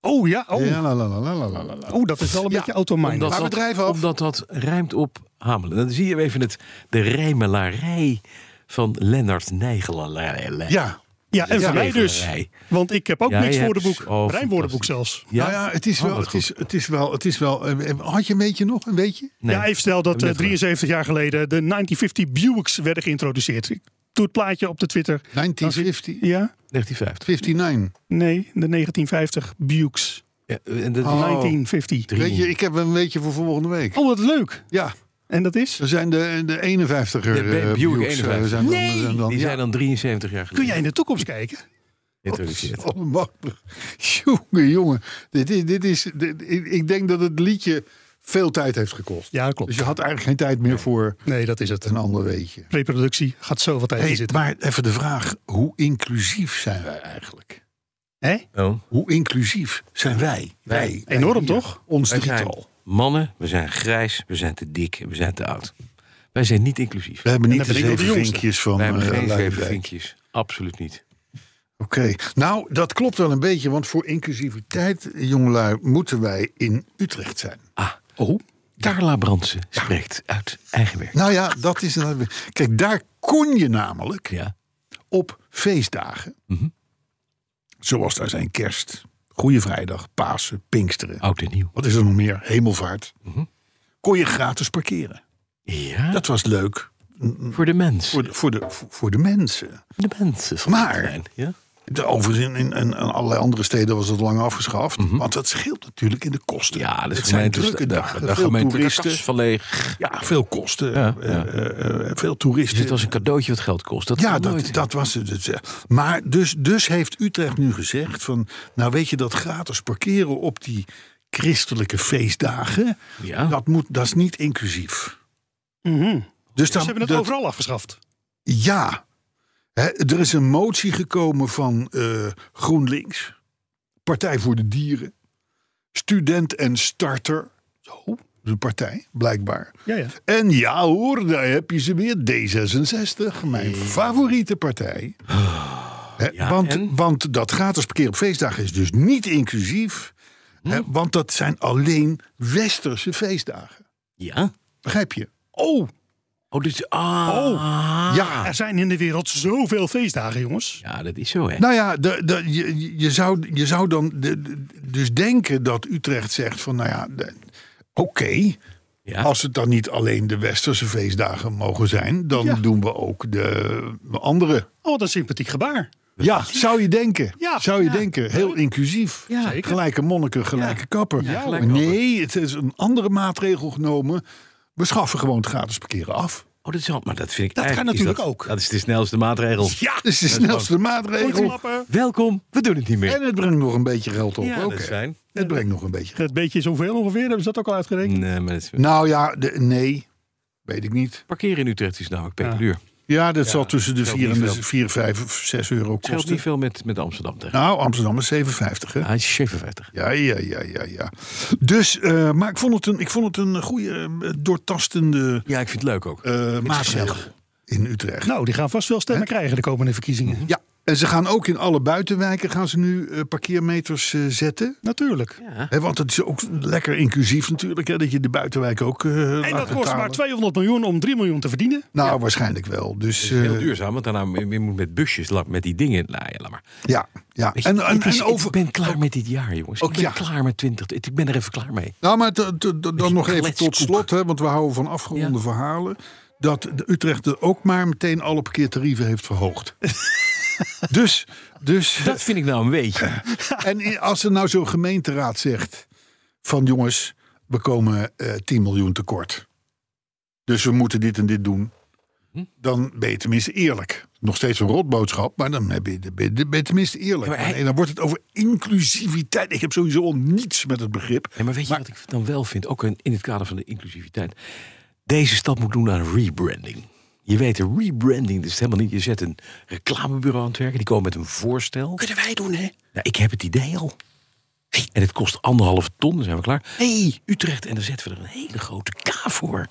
Speaker 4: Oh ja, oh.
Speaker 2: Ja, la, la, la, la, la, la, la.
Speaker 4: Oh, dat is wel een
Speaker 2: Ja,
Speaker 4: beetje automijn.
Speaker 3: Omdat
Speaker 2: Maar we
Speaker 3: dat,
Speaker 2: drijven af.
Speaker 3: omdat dat rijmt op Hamelen. Dan zie je even het, de rijmelarij van Lennart Nijgelarij.
Speaker 2: Ja,
Speaker 4: Ja, en
Speaker 2: Ja,
Speaker 4: voor mij dus.
Speaker 3: regelerij.
Speaker 4: Want ik heb ook
Speaker 3: Ja,
Speaker 4: niks
Speaker 3: je hebt-
Speaker 4: woordenboek.
Speaker 3: oh,
Speaker 4: Rijnwoordenboek
Speaker 3: fantastisch.
Speaker 4: zelfs.
Speaker 2: ja. Nou ja het, is
Speaker 3: Oh,
Speaker 2: wel,
Speaker 3: wat
Speaker 2: het, is,
Speaker 3: goed.
Speaker 2: het is wel, het is wel. eh, eh, Had je een beetje nog, een beetje?
Speaker 3: Nee.
Speaker 4: Ja, even snel dat eh,
Speaker 3: Heb ik net
Speaker 4: 73 jaar geleden de 1950 Buicks werden geïntroduceerd. Ik doe het plaatje op de Twitter.
Speaker 2: 1950,
Speaker 4: Ja?
Speaker 3: 1950.
Speaker 2: 59.
Speaker 4: Nee, de 1950 Buicks.
Speaker 3: Ja, en dat is
Speaker 2: Oh.
Speaker 4: 1950.
Speaker 2: Weet je, ik heb een beetje voor volgende week.
Speaker 4: Oh, wat leuk.
Speaker 2: Ja,
Speaker 4: En dat is?
Speaker 2: we zijn de, de 51er.
Speaker 3: Ja,
Speaker 2: eh,
Speaker 3: Buick
Speaker 2: Buicks, eh,
Speaker 3: 51.
Speaker 2: Zijn dan,
Speaker 4: Nee!
Speaker 2: zijn dan,
Speaker 3: Die
Speaker 2: ja.
Speaker 3: zijn dan 73 jaar
Speaker 4: Kun
Speaker 3: geleden
Speaker 4: jij in de toekomst kijken?
Speaker 3: geïntroduceerd.
Speaker 2: Oh, Allemachtig. Jongen, jongen. Dit is, dit is, dit- ik ik denk dat het liedje veel tijd heeft gekost.
Speaker 4: Ja,
Speaker 2: Dus
Speaker 4: klopt.
Speaker 2: je had eigenlijk geen tijd meer voor
Speaker 4: Nee, dat is het.
Speaker 2: een ander weetje.
Speaker 4: Preproductie gaat zoveel tijd in
Speaker 2: Hey,
Speaker 4: zitten.
Speaker 2: maar even de vraag, hoe inclusief zijn wij eigenlijk?
Speaker 4: Hè?
Speaker 3: Oh.
Speaker 2: Hoe inclusief zijn wij? Wij.
Speaker 4: Enorm, toch?
Speaker 2: Ons
Speaker 3: Wij zijn
Speaker 2: drietal.
Speaker 3: mannen, we zijn grijs, we zijn te dik en we zijn te oud. Wij zijn niet inclusief.
Speaker 2: We hebben niet
Speaker 4: dan
Speaker 2: de
Speaker 4: ben ik ook de
Speaker 2: zeven
Speaker 4: jongste.
Speaker 2: vinkjes van
Speaker 3: Wij hebben
Speaker 2: eh,
Speaker 3: geen
Speaker 2: Luijendijk.
Speaker 3: zeven vinkjes. Absoluut niet.
Speaker 2: Oké, nou dat klopt wel een beetje, want voor inclusiviteit, jongelui, moeten wij in Utrecht zijn.
Speaker 3: Oh. Carla Brandsen spreekt uit eigen werk.
Speaker 2: Nou ja, dat is. Kijk, daar kon je namelijk
Speaker 3: Ja.
Speaker 2: op feestdagen. Zoals daar zijn kerst, Goede Vrijdag, Pasen, Pinksteren.
Speaker 3: Oud en nieuw.
Speaker 2: Wat is er nog meer? Hemelvaart.
Speaker 3: Mhm.
Speaker 2: Kon je gratis parkeren.
Speaker 3: Ja,
Speaker 2: Dat was leuk
Speaker 3: voor de mens.
Speaker 2: voor de, voor de, voor de mensen.
Speaker 3: de mensen.
Speaker 2: Maar-
Speaker 3: Ja?
Speaker 2: De- Overigens, in, in, in allerlei andere steden was dat lang afgeschaft. Want dat scheelt natuurlijk in de kosten.
Speaker 3: Mhm. Ja, dat is
Speaker 2: het zijn
Speaker 3: gemeente,
Speaker 2: drukke dagen,
Speaker 3: de
Speaker 2: veel
Speaker 3: gemeentelijke
Speaker 2: toeristen.
Speaker 3: kas van leeg.
Speaker 2: Ja, veel kosten.
Speaker 3: Ja,
Speaker 2: eh,
Speaker 3: ja.
Speaker 2: eh, eh, veel
Speaker 3: Dus dit
Speaker 2: toeristen.
Speaker 3: was een cadeautje wat geld kost. Dat
Speaker 2: Ja,
Speaker 3: kan
Speaker 2: dat,
Speaker 3: nooit.
Speaker 2: dat was het. Dus, eh, Maar dus, dus heeft Utrecht nu gezegd van... nou weet je, dat gratis parkeren op die christelijke feestdagen...
Speaker 3: Ja.
Speaker 2: Dat, moet, dat is niet inclusief.
Speaker 4: Mhm.
Speaker 2: Dus
Speaker 4: Ze
Speaker 2: dan,
Speaker 4: hebben het
Speaker 2: dat-
Speaker 4: overal afgeschaft.
Speaker 2: Ja. Hè, er is een motie gekomen van eh, GroenLinks, Partij voor de Dieren, Student en Starter. Zo, dat is een partij, blijkbaar.
Speaker 4: Ja, ja.
Speaker 2: En ja hoor, daar heb je ze weer. D66, mijn favoriete partij. Hè,
Speaker 3: Ah, Ja,
Speaker 2: want,
Speaker 3: en?
Speaker 2: want dat gratis parkeer op feestdagen is dus niet inclusief.
Speaker 3: Hm?
Speaker 2: Hè, want dat zijn alleen westerse feestdagen.
Speaker 3: Ja?
Speaker 2: Begrijp je?
Speaker 4: Oh,
Speaker 3: Oh, dus, ah. oh.
Speaker 2: Ja.
Speaker 4: er zijn in de wereld zoveel feestdagen, jongens.
Speaker 3: Ja, dat is zo, hè.
Speaker 2: Nou ja, de, de, je, je, zou, je zou dan de- de- dus denken dat Utrecht zegt van nou ja, de- oké,
Speaker 3: ja.
Speaker 2: als het dan niet alleen de westerse feestdagen mogen zijn, dan doen we ook de andere.
Speaker 4: Oh, wat een sympathiek gebaar.
Speaker 2: Ja, zou je denken.
Speaker 4: Ja,
Speaker 2: zou je
Speaker 4: ja.
Speaker 2: denken. Heel inclusief.
Speaker 3: Ja. Zeker.
Speaker 2: Gelijke monniken, gelijke kapper.
Speaker 3: gelijke
Speaker 2: nee, het is een andere maatregel genomen. We schaffen gewoon het gratis parkeren af.
Speaker 3: Oh, dat is wel, maar dat vind ik
Speaker 4: Dat kan
Speaker 3: eigenlijk is
Speaker 4: natuurlijk ook.
Speaker 3: Dat is de snelste maatregel.
Speaker 2: Ja, dat is de snelste maatregel.
Speaker 4: Klappen.
Speaker 3: Welkom, we doen het niet meer.
Speaker 2: En het brengt nog een beetje geld op.
Speaker 3: Ja,
Speaker 2: ook,
Speaker 3: dat is
Speaker 2: hè.
Speaker 3: fijn.
Speaker 2: Het brengt nog een beetje
Speaker 4: Dat eh, beetje is hoeveel ongeveer? Hebben ze dat ook al uitgerekend?
Speaker 3: Nee, maar dat is-
Speaker 2: Nou ja, de- nee. Weet ik niet.
Speaker 3: Parkeren in Utrecht is namelijk
Speaker 4: Ja.
Speaker 3: peperduur. Het
Speaker 2: Ja, dat zal tussen de
Speaker 3: scheelt
Speaker 2: 4, en
Speaker 3: niet
Speaker 2: de
Speaker 3: veel.
Speaker 2: 4, 5 of 6 euro
Speaker 3: scheelt niet
Speaker 2: kosten.
Speaker 3: veel met, met Amsterdam tegen.
Speaker 2: Nou, Amsterdam is 7,50 hè?
Speaker 3: Hij is 57.
Speaker 2: Ja, ja, ja, ja, ja. Dus, eh, maar ik vond het een, ik vond het een goede, eh, doortastende
Speaker 3: Ja, ik vind het leuk ook.
Speaker 2: eh maatregel in Utrecht.
Speaker 4: Nou, die gaan vast wel stemmen krijgen de komende verkiezingen.
Speaker 2: Ja, en ze gaan ook in alle buitenwijken gaan ze nu eh, parkeermeters eh, zetten.
Speaker 4: Natuurlijk.
Speaker 2: Hè, want het is ook lekker inclusief natuurlijk, hè, dat je de buitenwijk ook eh laat
Speaker 4: En dat kost
Speaker 2: betalen.
Speaker 4: maar 200 miljoen om 3 miljoen te verdienen.
Speaker 2: Nou, waarschijnlijk wel. Dus,
Speaker 3: Heel
Speaker 2: eh,
Speaker 3: duurzaam, want daarna moet je moet met busjes, la- met die dingen. Nou ja, laat maar.
Speaker 2: ja, ja.
Speaker 3: Weet je,
Speaker 2: En, en,
Speaker 3: het is-
Speaker 2: en over,
Speaker 3: ik ben klaar met dit jaar, jongens.
Speaker 2: Ook
Speaker 3: ik ben
Speaker 2: ja.
Speaker 3: klaar met 20. Ik ben er even klaar mee.
Speaker 2: Nou, maar t- t- t- dan nog even tot
Speaker 3: kletskoek.
Speaker 2: slot, hè, want we houden van afgeronde
Speaker 3: Ja.
Speaker 2: verhalen. Dat de Utrecht er ook maar meteen alle parkeertarieven heeft verhoogd. dus, dus
Speaker 3: Dat vind ik nou een
Speaker 2: Eh.
Speaker 3: weetje.
Speaker 2: en i- als er nou zo'n gemeenteraad zegt: van jongens, we komen eh 10 miljoen tekort. Dus we moeten dit en dit doen.
Speaker 3: Hm?
Speaker 2: Dan ben je tenminste eerlijk. Nog steeds een rotboodschap, maar dan heb je- dan ben je, dan ben je tenminste eerlijk.
Speaker 3: Ja, maar hij-
Speaker 2: En dan wordt het over inclusiviteit. Ik heb sowieso al niets met het begrip.
Speaker 3: Nee, maar weet je wat ik dan wel vind? Ook in in het kader van de inclusiviteit. Deze stad moet doen aan rebranding. Je weet, de rebranding, dat is helemaal niet. Je zet een reclamebureau aan het werken, die komen met een voorstel.
Speaker 4: Kunnen wij doen, hè?
Speaker 3: Nou, ik heb het idee al. Hey, en het kost anderhalve ton, dan zijn we klaar. hey, Utrecht, en dan zetten we er een hele grote K voor.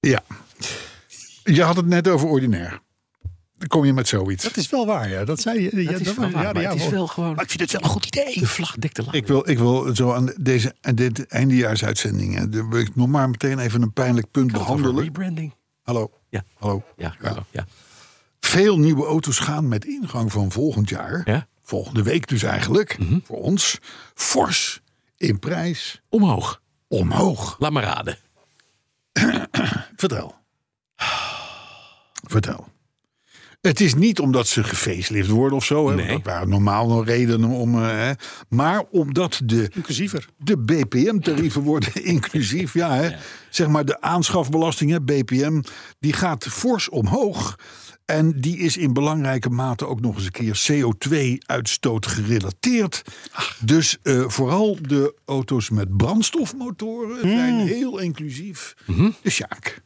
Speaker 2: Ja. Je had het net over ordinair. Dan kom je met zoiets.
Speaker 4: Dat is wel waar, ja. Dat zei je. Ja,
Speaker 3: Dat is wel
Speaker 4: was-
Speaker 3: waar,
Speaker 4: ja,
Speaker 3: maar
Speaker 4: ja,
Speaker 3: het is
Speaker 4: hoor.
Speaker 3: wel gewoon...
Speaker 4: Maar ik vind het wel een goed idee.
Speaker 3: De vlag dekt de laan.
Speaker 2: Ik wil, ik wil zo aan deze aan dit eindejaarsuitzending. hè, daar wil ik nog maar meteen even een pijnlijk punt
Speaker 3: Gaat het over
Speaker 2: behandelen.
Speaker 3: Rebranding.
Speaker 2: Hallo.
Speaker 3: Ja.
Speaker 2: Hallo.
Speaker 3: Ja, Carlo, ja.
Speaker 2: Veel nieuwe auto's gaan met ingang van volgend jaar.
Speaker 3: Ja. Mhm.
Speaker 2: Volgende week dus eigenlijk. Voor ons. Fors in prijs
Speaker 3: Omhoog.
Speaker 2: omhoog.
Speaker 3: Laat maar raden.
Speaker 2: Vertel. Vertel. Het is niet omdat ze gefacelift worden of zo. Hè, want
Speaker 3: Nee.
Speaker 2: Dat waren normaal nog redenen om. eh, hè, maar omdat de
Speaker 4: Inclusiever.
Speaker 2: De BPM-tarieven worden inclusief. Ja, hè. zeg maar de aanschafbelasting, hè, BPM, die gaat fors omhoog. En die is in belangrijke mate ook nog eens een keer CO2-uitstoot gerelateerd. Dus eh, vooral de auto's met brandstofmotoren zijn heel inclusief. Dus ja, ik-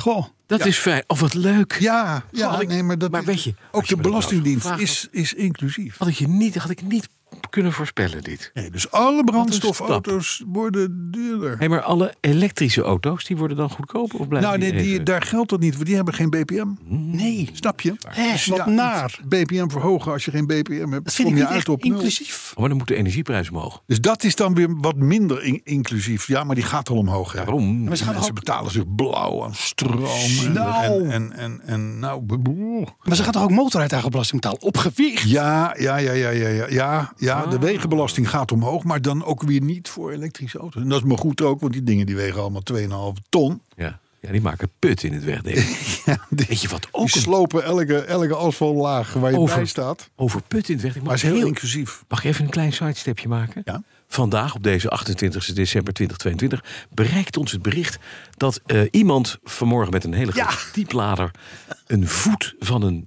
Speaker 4: Goh.
Speaker 3: Dat is fijn. Oh, wat leuk.
Speaker 2: ja, ja
Speaker 3: had ik-
Speaker 2: nee, maar, dat
Speaker 3: maar weet je, als
Speaker 2: ook
Speaker 3: je
Speaker 2: de
Speaker 3: me dat nou
Speaker 2: Belastingdienst
Speaker 3: zo gevraagd
Speaker 2: is, is inclusief.
Speaker 3: Had ik, je niet, had ik niet kunnen voorspellen dit.
Speaker 2: Nee, dus alle
Speaker 3: stap.
Speaker 2: brandstofauto's worden duurder.
Speaker 3: Hey, maar alle elektrische auto's, die worden dan goedkoper of blijven
Speaker 2: Nou, nee, die,
Speaker 3: even-
Speaker 2: daar geldt dat niet, want die hebben geen BPM. Nee. Snap je? Dus
Speaker 4: wat
Speaker 2: ja,
Speaker 4: naar.
Speaker 2: BPM verhogen als je geen BPM hebt.
Speaker 4: Dat vind
Speaker 2: kom je
Speaker 4: ik niet
Speaker 2: uit
Speaker 4: echt
Speaker 2: op nul.
Speaker 4: inclusief.
Speaker 3: Oh, maar dan moet de energieprijs omhoog.
Speaker 2: Dus dat is dan weer wat minder in- inclusief. Ja, maar die gaat al omhoog. hè.
Speaker 3: Daarom.
Speaker 4: Maar ze gaan,
Speaker 2: En Mensen
Speaker 4: toch ook,
Speaker 2: betalen zich blauw aan stroom. En,
Speaker 4: Nou.
Speaker 2: en, en, en, en nou. b- boe.
Speaker 4: maar ze gaan toch ook motorrijtuigenbelasting betalen? Op gewicht?
Speaker 2: Ja, ja, ja, ja, ja, ja. ja, ja
Speaker 3: Ah.
Speaker 2: De wegenbelasting gaat omhoog, maar dan ook weer niet voor elektrische auto's. En dat is maar goed ook, want die dingen die wegen allemaal 2,5 ton.
Speaker 3: Ja. Ja, die maken put in het wegdek. Weet je wat ook
Speaker 2: Die
Speaker 3: een-
Speaker 2: slopen elke, elke asfaltlaag waar je
Speaker 3: Over.
Speaker 2: bij staat.
Speaker 3: over put in het wegdek?
Speaker 2: Maar
Speaker 3: Mag,
Speaker 2: is
Speaker 3: ik
Speaker 2: heel
Speaker 3: heel-
Speaker 2: inclusief.
Speaker 3: mag ik even een klein sidestepje maken?
Speaker 2: Ja.
Speaker 3: Vandaag, op deze 28 december 2022, bereikt ons het bericht dat eh, iemand vanmorgen met een hele grote dieplader een voet van een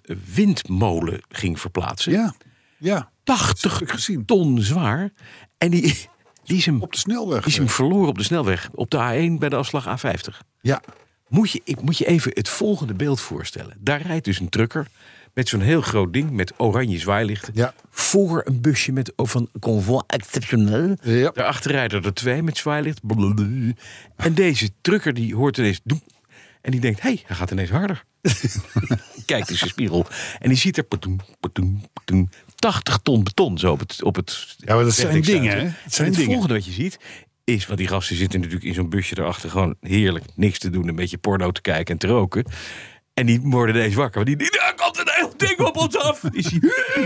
Speaker 3: windmolen ging verplaatsen.
Speaker 2: Ja, ja.
Speaker 3: 80
Speaker 2: Heb ik gezien.
Speaker 3: ton zwaar. En die, die is hem
Speaker 2: Op de snelweg.
Speaker 3: Die is hem verloren op de snelweg. Op de A1 bij de afslag A50.
Speaker 2: Ja,
Speaker 3: Moet je, ik moet je even het volgende beeld voorstellen. Daar rijdt dus een trucker met zo'n heel groot ding met oranje zwaailichten.
Speaker 2: Ja.
Speaker 3: Voor een busje met, oh, van Convoi Exceptionnel.
Speaker 2: Ja.
Speaker 3: Daarachter rijden er twee met zwaailicht. Blablabla. En deze trucker die hoort ineens... doem. En die denkt, hé, hey, hij gaat ineens harder. Kijkt in zijn spiegel. En die ziet er... patoem, patoem, patoem, 80 ton beton zo op het... Op het
Speaker 2: ja maar dat zijn
Speaker 3: wegdek staan,
Speaker 2: dingen.
Speaker 3: hè.
Speaker 2: hè?
Speaker 3: En
Speaker 2: Het zijn
Speaker 3: het
Speaker 2: dingen.
Speaker 3: volgende wat je ziet is, want die gasten zitten natuurlijk in zo'n busje erachter gewoon heerlijk niks te doen, een beetje porno te kijken en te roken. En die worden ineens wakker. Want die, die, daar komt een heel ding op ons af. Die zien, eh,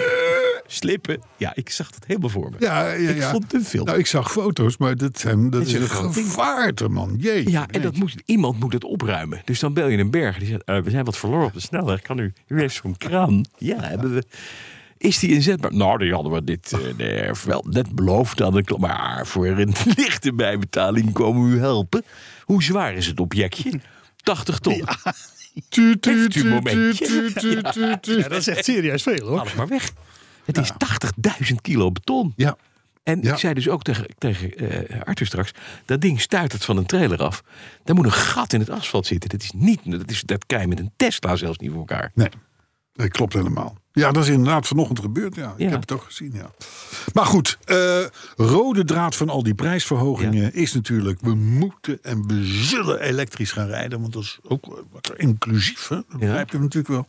Speaker 3: slippen. Ja, ik zag dat helemaal voor me.
Speaker 2: Ja, ja,
Speaker 3: Ik
Speaker 2: ja.
Speaker 3: vond het een film.
Speaker 2: Nou, ik zag foto's, maar dat, zijn, dat
Speaker 3: is
Speaker 2: is
Speaker 3: een
Speaker 2: een
Speaker 3: groot ding.
Speaker 2: gevaarte, man. Jee.
Speaker 3: Ja, en dat moet, iemand moet het opruimen. Dus dan bel je een berg. Die zegt, eh, we zijn wat verloren op de snelweg. Kan u, u heeft zo'n kraan. Ja, hebben we. Is die inzetbaar? Nou, die hadden we dit eh, nee, wel net beloofd aan de klant. Maar voor een lichte bijbetaling komen we u helpen. Hoe zwaar is het objectje? 80 ton.
Speaker 2: Tu, tu,
Speaker 3: Heeft u
Speaker 2: tu,
Speaker 3: een momentje?
Speaker 2: tu, tu, tu, tu, tu.
Speaker 4: Ja, dat is echt serieus veel hoor.
Speaker 3: Haal het maar weg. Het is 80.000 kilo beton.
Speaker 2: Ja,
Speaker 3: En
Speaker 2: Ja.
Speaker 3: ik zei dus ook tegen, tegen eh, Arthur straks... dat ding stuitert van een trailer af. Daar moet een gat in het asfalt zitten. Dat is niet... Dat, is, dat krijg je met een Tesla zelfs niet voor elkaar.
Speaker 2: nee. Dat klopt helemaal. Ja, dat is inderdaad vanochtend gebeurd. Ja,
Speaker 3: Ja.
Speaker 2: ik heb het ook gezien. Ja. Maar goed, eh, rode draad van al die prijsverhogingen is natuurlijk... we moeten en we zullen elektrisch gaan rijden. Want dat is ook eh, wat inclusief, hè? dat begrijp je natuurlijk wel.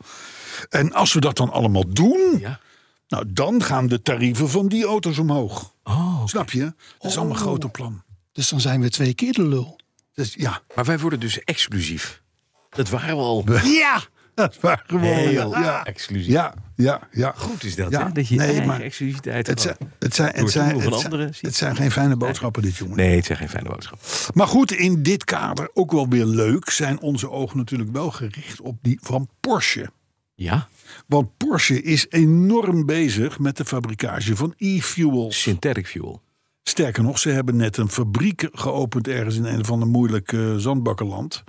Speaker 2: En als we dat dan allemaal doen...
Speaker 3: Ja.
Speaker 2: Nou, dan gaan de tarieven van die auto's omhoog.
Speaker 3: Oh,
Speaker 2: Snap je? Dat is allemaal een groter plan.
Speaker 4: Dus dan zijn we twee keer de lul.
Speaker 2: Dus ja,
Speaker 3: Maar wij worden dus exclusief. Dat waren we al.
Speaker 2: Ja! Dat is waar, gewoon.
Speaker 3: Heel
Speaker 2: ja.
Speaker 3: exclusief.
Speaker 2: ja, ja, ja.
Speaker 3: Goed is dat,
Speaker 2: Ja,
Speaker 3: hè? Dat je
Speaker 2: nee,
Speaker 3: eigen
Speaker 2: maar
Speaker 3: exclusiviteit
Speaker 2: Het zijn,
Speaker 3: gewoon-
Speaker 2: het, zijn, het,
Speaker 3: Door
Speaker 2: zijn,
Speaker 3: toedoen van
Speaker 2: het, zijn,
Speaker 3: anderen, zie-
Speaker 2: het zijn geen fijne boodschappen, dit jongen.
Speaker 3: Nee, het zijn geen fijne boodschap.
Speaker 2: Maar goed, in dit kader, ook wel weer leuk, zijn onze ogen natuurlijk wel gericht op die van Porsche.
Speaker 3: Ja,
Speaker 2: Want Porsche is enorm bezig met de fabrikage van e-fuels.
Speaker 3: synthetic fuel.
Speaker 2: Sterker nog, ze hebben net een fabriek geopend ergens in een of ander moeilijk eh, zandbakkenland.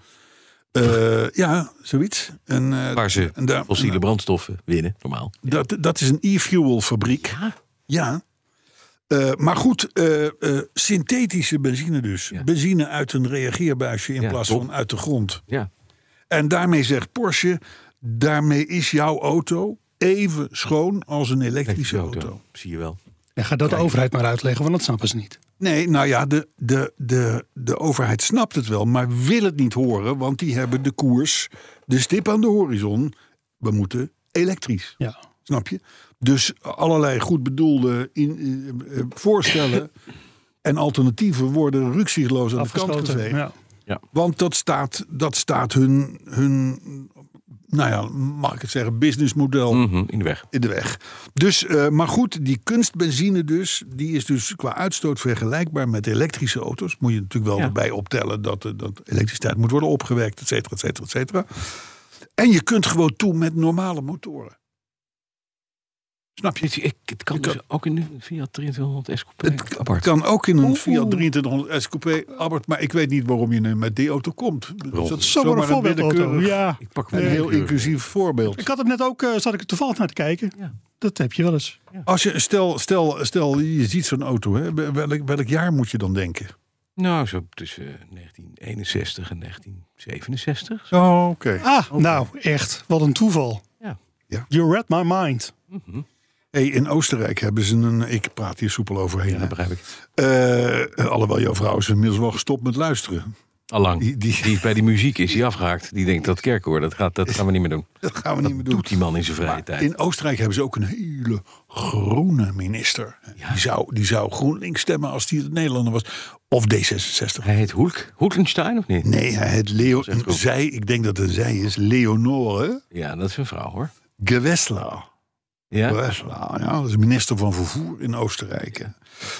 Speaker 2: Eh, ja, zoiets. En, eh,
Speaker 3: Waar ze
Speaker 2: en daar-
Speaker 3: fossiele brandstoffen winnen, normaal.
Speaker 2: Dat, dat is een e-fuel fabriek. Ja. Eh, maar goed, eh, eh, synthetische benzine dus.
Speaker 3: Ja.
Speaker 2: Benzine uit een reageerbuisje in
Speaker 3: Ja,
Speaker 2: plaats
Speaker 3: top.
Speaker 2: van uit de grond.
Speaker 3: Ja.
Speaker 2: En daarmee zegt Porsche, daarmee is jouw auto even schoon als een elektrische auto.
Speaker 3: Zie je wel.
Speaker 4: Ja, ga dat de overheid maar uitleggen, want dat snappen ze niet.
Speaker 2: Nee, nou ja, de, de, de, de overheid snapt het wel, maar wil het niet horen. Want die hebben de koers, de stip aan de horizon. We moeten elektrisch.
Speaker 4: Ja.
Speaker 2: Snap je? Dus allerlei goed bedoelde in, eh, eh, voorstellen en alternatieven worden ruksigloos aan de kant
Speaker 4: Afgeschoten.
Speaker 2: geveegd.
Speaker 4: Ja.
Speaker 2: Want dat staat, dat staat hun, hun, nou ja, mag ik het zeggen, businessmodel
Speaker 4: Mm.
Speaker 3: Mhm, in de weg.
Speaker 2: in de weg. Dus, eh, maar goed, die kunstbenzine dus, die is dus qua uitstoot vergelijkbaar met elektrische auto's. Moet je natuurlijk wel
Speaker 3: Ja.
Speaker 2: erbij optellen dat, eh, dat elektriciteit moet worden opgewekt, et cetera, et cetera, et cetera. En je kunt gewoon toe met normale motoren. Snap je?
Speaker 3: Dit- ik, het kan
Speaker 2: Je
Speaker 3: dus
Speaker 2: kan-
Speaker 3: ook in de Fiat 2300 S Coupé.
Speaker 2: Het
Speaker 3: apart.
Speaker 2: kan ook in een Fiat 2300 S Coupé, Albert, maar ik weet niet waarom je nu met die auto komt. Dus dat is
Speaker 4: Zomaar een
Speaker 2: willekeurig
Speaker 4: voorbeeldauto. Ja.
Speaker 3: Ik pak
Speaker 2: en
Speaker 3: mijn
Speaker 2: heel
Speaker 3: kleur.
Speaker 2: inclusief voorbeeld.
Speaker 4: Ik had het net ook, eh, zat ik er toevallig naar te kijken.
Speaker 3: Ja.
Speaker 4: Dat heb je wel eens.
Speaker 2: Als je, stel, stel, stel, je ziet zo'n auto, hè, welk, welk jaar moet je dan denken?
Speaker 3: Nou, zo tussen 1961 en 1967.
Speaker 2: Oh, oké.
Speaker 4: Ah, nou echt, wat een toeval.
Speaker 3: Ja.
Speaker 2: Ja.
Speaker 4: You read my mind.
Speaker 2: Hey, in Oostenrijk hebben ze een. Ik praat hier soepel overheen. hè.
Speaker 3: Dat begrijp ik.
Speaker 2: Eh, alhoewel jouw vrouw is inmiddels wel gestopt met luisteren.
Speaker 3: Allang.
Speaker 2: Die-
Speaker 3: Die,
Speaker 2: die-
Speaker 3: is bij die muziek is die afgehaakt. Die denkt dat kerkkoor, dat, gaat, dat gaan we niet meer doen.
Speaker 2: Dat gaan we niet meer doen.
Speaker 3: Doet die man in zijn vrije tijd.
Speaker 2: In Oostenrijk hebben ze ook een hele groene minister. Die, zou, die zou GroenLinks stemmen als die een Nederlander was. Of D66.
Speaker 3: Hij heet Hoek, Hoekenstein of niet?
Speaker 2: Nee, hij het Leo,
Speaker 3: echt goed.
Speaker 2: zij, ik denk dat het zij is, Leonore
Speaker 3: Ja, dat is een vrouw hoor.
Speaker 2: Gewessler.
Speaker 3: Ja?
Speaker 2: Breslau, ja, dat is minister van Vervoer in Oostenrijk. hè.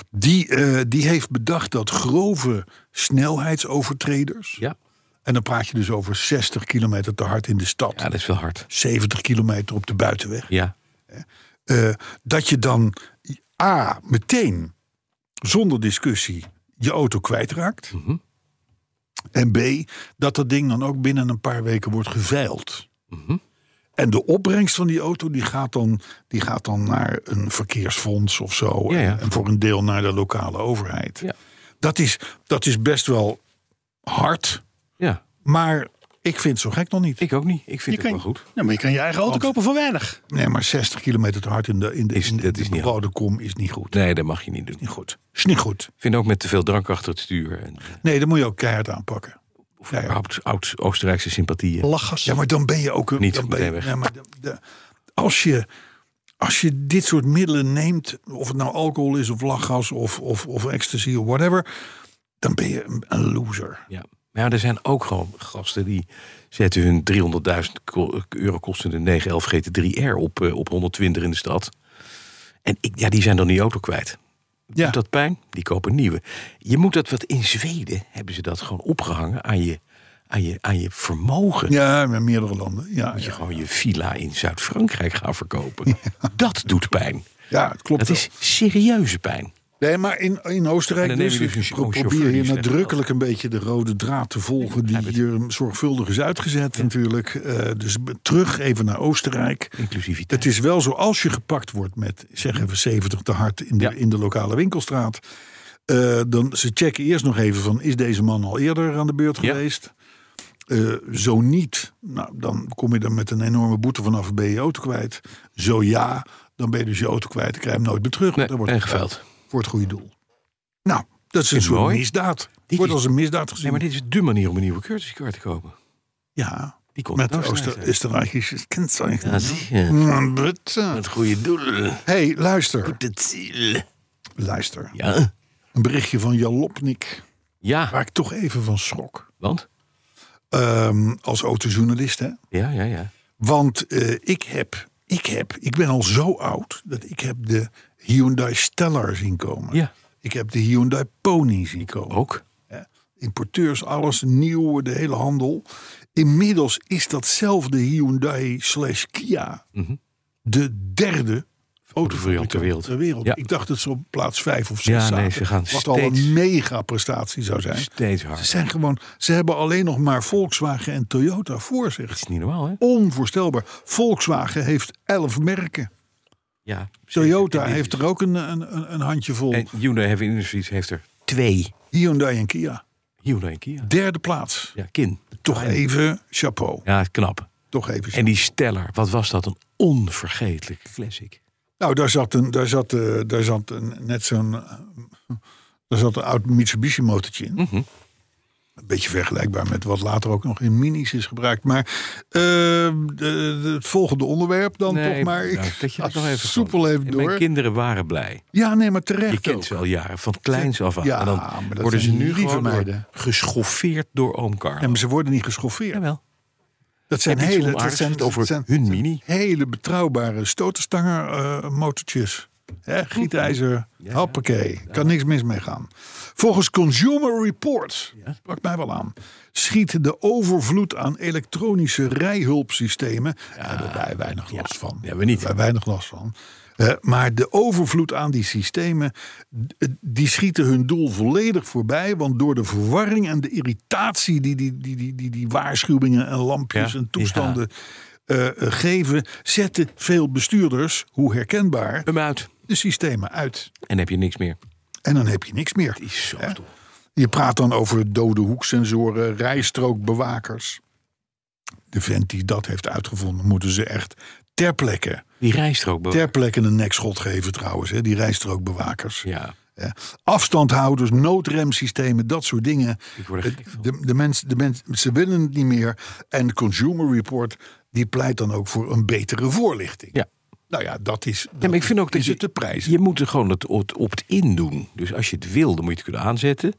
Speaker 2: Die, eh, die heeft bedacht dat grove snelheidsovertreders
Speaker 3: Ja.
Speaker 2: En dan praat je dus over 60 kilometer te hard in de stad.
Speaker 3: Ja, dat is wel hard.
Speaker 2: 70 kilometer op de buitenweg.
Speaker 3: Ja.
Speaker 2: Eh, dat je dan A, meteen zonder discussie je auto kwijtraakt.
Speaker 3: Mhm.
Speaker 2: En B, dat dat ding dan ook binnen een paar weken wordt geveild.
Speaker 3: Mhm.
Speaker 2: En de opbrengst van die auto die gaat, dan, die gaat dan naar een verkeersfonds of zo.
Speaker 3: Ja, ja.
Speaker 2: En, en voor een deel naar de lokale overheid.
Speaker 3: Ja.
Speaker 2: Dat, is, dat is best wel hard,
Speaker 3: Ja.
Speaker 2: maar ik vind het zo gek nog niet.
Speaker 3: Ik ook niet. Ik vind
Speaker 4: Je
Speaker 3: het
Speaker 4: kan-
Speaker 3: wel goed.
Speaker 4: Ja, maar je kan je eigen auto kopen voor weinig.
Speaker 2: Nee, maar 60 kilometer te hard in de, in de,
Speaker 3: Is-
Speaker 2: in de,
Speaker 3: dat is
Speaker 2: in de
Speaker 3: niet
Speaker 2: rode kom is niet goed.
Speaker 3: Nee, dat mag je niet doen.
Speaker 2: Niet goed. Is niet goed.
Speaker 3: Ik vind ook met te veel drank achter het stuur. En, eh,
Speaker 2: Nee, dan moet je ook keihard aanpakken.
Speaker 3: of
Speaker 2: Ja, ja.
Speaker 3: oud, oud Oostenrijkse sympathieën.
Speaker 4: Lachgas.
Speaker 2: Ja, maar dan ben je ook... een-
Speaker 3: Niet
Speaker 2: dan ben
Speaker 3: meteen
Speaker 2: je-
Speaker 3: weg.
Speaker 2: Ja, maar de- de- als, je, als je dit soort middelen neemt... of het nou alcohol is of lachgas of, of, of ecstasy of whatever... dan ben je een, een loser.
Speaker 3: Ja. Maar ja, er zijn ook gewoon gasten die zetten hun 300.000 ko- euro kostende 911 GT3R op, eh, op 120 in de stad. En ik, ja, die zijn dan die auto kwijt.
Speaker 2: Ja.
Speaker 3: Doet dat pijn? Die kopen een nieuwe. Je moet dat wat in Zweden hebben ze dat gewoon opgehangen aan je, aan je, aan je vermogen.
Speaker 2: Ja, met meerdere landen. Ja,
Speaker 3: Moet je
Speaker 2: ja.
Speaker 3: gewoon je villa in Zuid-Frankrijk gaan verkopen. Dat doet pijn.
Speaker 2: ja het klopt
Speaker 3: Dat
Speaker 2: wel.
Speaker 3: is serieuze pijn.
Speaker 2: Nee, maar in, in Oostenrijk
Speaker 3: En dan
Speaker 2: dus,
Speaker 3: neem je dus een
Speaker 2: pro-
Speaker 3: chauffeur
Speaker 2: probeer
Speaker 3: die
Speaker 2: je
Speaker 3: slecht
Speaker 2: nadrukkelijk een beetje de rode draad te volgen... die hier zorgvuldig is uitgezet natuurlijk. Eh, dus b- terug even naar Oostenrijk.
Speaker 3: Inclusiviteit.
Speaker 2: Het is wel zo, als je gepakt wordt met, zeg even, 70 te hard in de,
Speaker 3: Ja.
Speaker 2: in de lokale winkelstraat. eh, dan ze checken eerst nog even van, is deze man al eerder aan de beurt
Speaker 3: Ja.
Speaker 2: geweest? Eh, zo niet, nou, dan kom je er met een enorme boete vanaf, ben je je auto kwijt. Zo ja, dan ben je dus je auto kwijt, dan krijg je hem nooit meer terug.
Speaker 3: Nee,
Speaker 2: dan wordt
Speaker 3: en
Speaker 2: het
Speaker 3: geveild.
Speaker 2: voor het goede doel. Nou, dat is een
Speaker 3: Vind ik
Speaker 2: soort
Speaker 3: mooi.
Speaker 2: misdaad.
Speaker 3: Dit
Speaker 2: Wordt
Speaker 3: is-
Speaker 2: als een misdaad gezien.
Speaker 3: Nee, maar dit is dé manier om een nieuwe courtesy car te kopen.
Speaker 2: Ja,
Speaker 3: Die komt
Speaker 2: met
Speaker 3: uit
Speaker 2: de
Speaker 3: Oostenrijk.
Speaker 2: Oosten- Oostenrijkische kenteken.
Speaker 3: Ja, zie je. Het goede doel.
Speaker 2: Mm, eh, Hey, luister.
Speaker 3: Het ziel.
Speaker 2: Luister.
Speaker 3: Ja.
Speaker 2: Een berichtje van Jalopnik,
Speaker 3: Ja,
Speaker 2: waar ik toch even van schrok.
Speaker 3: want?
Speaker 2: Ehm, als autojournalist, hè?
Speaker 3: Ja, ja, ja.
Speaker 2: Want eh, ik heb, ik heb, ik ben al zo oud dat ik heb de Hyundai Stellar zien komen.
Speaker 3: Ja. Oh.
Speaker 2: Ik heb de Hyundai Pony zien komen.
Speaker 3: Ook.
Speaker 2: hè. Importeurs, alles nieuw, de hele handel. Inmiddels is datzelfde Hyundai slash Kia de derde
Speaker 3: Autovariant Mhm. ter wereld.
Speaker 2: ter wereld.
Speaker 3: Ja.
Speaker 2: Ik dacht dat ze op plaats vijf of zes
Speaker 3: Ja,
Speaker 2: zaten.
Speaker 3: nee, ze gaan
Speaker 2: wat al
Speaker 3: steeds-
Speaker 2: een mega prestatie zou zijn.
Speaker 3: Steeds
Speaker 2: Ze
Speaker 3: hard.
Speaker 2: zijn gewoon, ze hebben alleen nog maar Volkswagen en Toyota voor
Speaker 3: Dat
Speaker 2: zich.
Speaker 3: is niet normaal, hè?
Speaker 2: Onvoorstelbaar. Volkswagen heeft elf merken.
Speaker 3: Ja.
Speaker 2: Toyota
Speaker 3: En-
Speaker 2: heeft er ook een, een, een- een handje vol.
Speaker 3: En Hyundai Heavy Industries heeft er twee.
Speaker 2: Hyundai en Kia.
Speaker 3: Hyundai en Kia.
Speaker 2: Derde plaats.
Speaker 3: Ja, kin.
Speaker 2: Toch even chapeau.
Speaker 3: Ja, knap.
Speaker 2: Toch even.
Speaker 3: En die Stellar, wat was dat? Een onvergetelijke classic.
Speaker 2: Nou, daar zat, een, daar zat, eh, daar zat een, net zo'n. eh, Daar zat een oud Mitsubishi motortje in.
Speaker 3: Mhm.
Speaker 2: Een beetje vergelijkbaar met wat later ook nog in minis is gebruikt. Maar eh, de- de- het volgende onderwerp dan toch maar.
Speaker 3: nou,
Speaker 2: Ik
Speaker 3: dat je
Speaker 2: ga
Speaker 3: dat nog even
Speaker 2: soepel
Speaker 3: kan.
Speaker 2: even
Speaker 3: En
Speaker 2: door.
Speaker 3: Mijn kinderen waren blij.
Speaker 2: Ja, nee, maar
Speaker 3: Je
Speaker 2: terecht ook.
Speaker 3: kent ze al jaren, van kleins af aan.
Speaker 2: Ja,
Speaker 3: en dan
Speaker 2: maar dat
Speaker 3: worden ze
Speaker 2: zijn
Speaker 3: nu
Speaker 2: lieve
Speaker 3: gewoon door-
Speaker 2: meiden.
Speaker 3: geschoffeerd door oom Carlo.
Speaker 2: En ze worden niet geschoffeerd.
Speaker 3: Jawel.
Speaker 2: Dat zijn
Speaker 3: Heb je iets
Speaker 2: hele, dat
Speaker 3: onaardigs
Speaker 2: zijn,
Speaker 3: gezegd over
Speaker 2: dat zijn
Speaker 3: hun mini?
Speaker 2: hele betrouwbare stotenstanger eh, motortjes. Hè, gietijzer, hoppakee, kan niks mis mee gaan. Volgens Consumer Report, sprak mij wel aan, schiet de overvloed aan elektronische rijhulpsystemen. daar hebben wij weinig last van. Daar
Speaker 3: hebben we niet.
Speaker 2: Wij weinig last van. Eh, maar de overvloed aan die systemen, d- eh, die schieten hun doel volledig voorbij. Want door de verwarring en de irritatie die die, die, die, die, die waarschuwingen en lampjes
Speaker 3: Ja,
Speaker 2: en toestanden eh, eh, geven, zetten veel bestuurders, hoe herkenbaar,
Speaker 3: Hem uit.
Speaker 2: de systemen uit.
Speaker 3: En heb je niks meer.
Speaker 2: En dan heb je niks meer.
Speaker 3: Is zo
Speaker 2: Hè?
Speaker 3: stom.
Speaker 2: Je praat dan over dode hoeksensoren, rijstrookbewakers. De vent die dat heeft uitgevonden, moeten ze echt ter plekke,
Speaker 3: Die rijstrook.
Speaker 2: ter plekke een nekschot geven trouwens. Hè, die rijstrookbewakers.
Speaker 3: Ja,
Speaker 2: Hè. Afstandhouders, noodremsystemen, dat soort dingen.
Speaker 3: ik word er gek van.
Speaker 2: De, de, mens, de mens, ze willen het niet meer. En Consumer Report die pleit dan ook voor een betere voorlichting.
Speaker 3: Ja.
Speaker 2: Nou ja, dat is, dat
Speaker 3: Ja, maar ik vind ook dat
Speaker 2: is
Speaker 3: je,
Speaker 2: het te prijzen.
Speaker 3: je moet er gewoon het opt- opt-in doen. Dus als je het wil, dan moet je het kunnen aanzetten.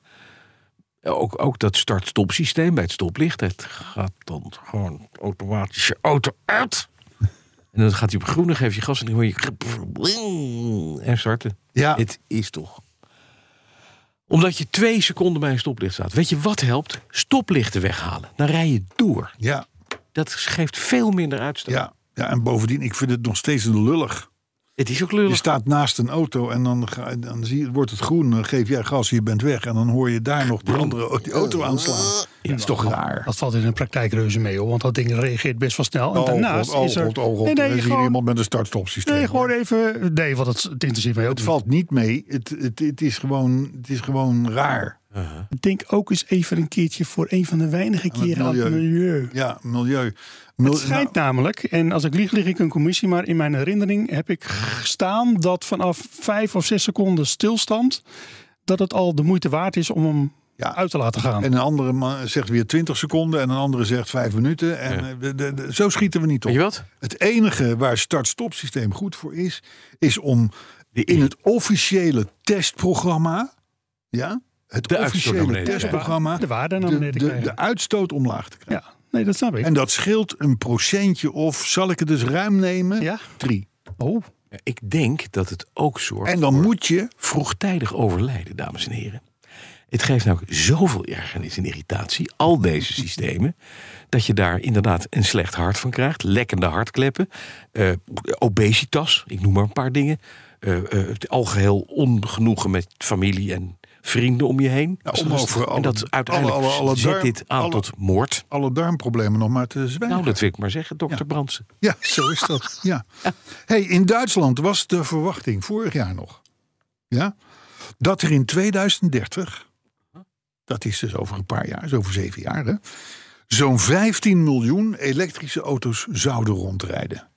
Speaker 3: Ook, ook dat start-stop systeem bij het stoplicht. Het gaat dan gewoon automatisch je auto uit. En dan gaat hij op groene, geef je gas en dan hoor je... En starten.
Speaker 2: Ja.
Speaker 3: Het is toch... Omdat je twee seconden bij een stoplicht staat. Weet je wat helpt? Stoplichten weghalen. Dan rij je door.
Speaker 2: Ja,
Speaker 3: Dat geeft veel minder uitstoot.
Speaker 2: ja, ja, en bovendien, ik vind het nog steeds een lullig.
Speaker 3: Het is ook
Speaker 2: Je
Speaker 3: lullig.
Speaker 2: staat naast een auto en dan, ga- dan zie, je- wordt het groen, dan geef jij gas, je bent weg. En dan hoor je daar nog die andere die auto aanslaan. dat is toch raar?
Speaker 4: Dat valt in de praktijk reuze mee, hoor, want dat ding reageert best wel snel. En
Speaker 2: Oh,
Speaker 4: daarnaast
Speaker 2: god, oh,
Speaker 4: is er...
Speaker 2: god, oh, god.
Speaker 4: nee,
Speaker 2: Dan
Speaker 4: nee,
Speaker 2: zie je
Speaker 4: gewoon,
Speaker 2: iemand met een start-stop systeem.
Speaker 4: nee, gewoon even... Nee, want het, het interesseert mij ook
Speaker 2: Het
Speaker 4: niet.
Speaker 2: valt niet mee. Het, het, het, is, gewoon, het is gewoon raar.
Speaker 4: Denk ook eens even een keertje voor een van de weinige
Speaker 2: het
Speaker 4: keren aan het
Speaker 2: milieu. Nou-
Speaker 4: milieu.
Speaker 2: Ja, milieu. Mil-
Speaker 4: Het schijnt namelijk, en als ik lieg, lig ik een commissie, maar in mijn herinnering heb ik gestaan dat vanaf vijf of zes seconden stilstand, dat het al de moeite waard is om hem
Speaker 2: Ja.
Speaker 4: uit te laten gaan.
Speaker 2: nou, en een andere man zegt weer 20 seconden en een andere zegt 5 minuten. En eh, de- de- de- zo schieten we niet op.
Speaker 3: Weet je wat?
Speaker 2: Het enige waar start-stop systeem goed voor is, is om in het officiële testprogramma, ja, het
Speaker 3: De uitstoot naar
Speaker 2: officiële
Speaker 3: beneden te
Speaker 2: testprogramma,
Speaker 4: de waarde naar
Speaker 2: de,
Speaker 4: beneden
Speaker 2: de-
Speaker 4: krijgen.
Speaker 2: de uitstoot omlaag te krijgen.
Speaker 4: ja, nee, dat snap ik.
Speaker 2: En dat scheelt een procentje of, zal ik het dus ruim nemen?
Speaker 4: ja?
Speaker 2: Drie.
Speaker 4: Oh,
Speaker 3: Ja, Ik denk dat het ook zorgt
Speaker 2: En dan moet je,
Speaker 3: vroegtijdig overlijden, dames en heren. Het geeft namelijk zoveel ergernis en irritatie, al deze systemen, dat je daar inderdaad een slecht hart van krijgt. Lekkende hartkleppen, eh, obesitas, ik noem maar een paar dingen. eh, eh, het algeheel ongenoegen met familie en vrienden om je heen.
Speaker 2: Ja, om over alle-
Speaker 3: en dat uiteindelijk
Speaker 2: alle- alle- alle
Speaker 3: zet
Speaker 2: darm-
Speaker 3: dit aan
Speaker 2: alle-
Speaker 3: tot moord.
Speaker 2: alle darmproblemen nog maar te zwijgen.
Speaker 3: Nou, dat wil ik maar zeggen, dokter Brandsen.
Speaker 2: Ja, zo is dat. Ja. Hey, in Duitsland was de verwachting vorig jaar nog ja, dat er in 2030, dat is dus over een paar jaar, is over zeven jaar, hè, zo'n 15 miljoen elektrische auto's zouden rondrijden.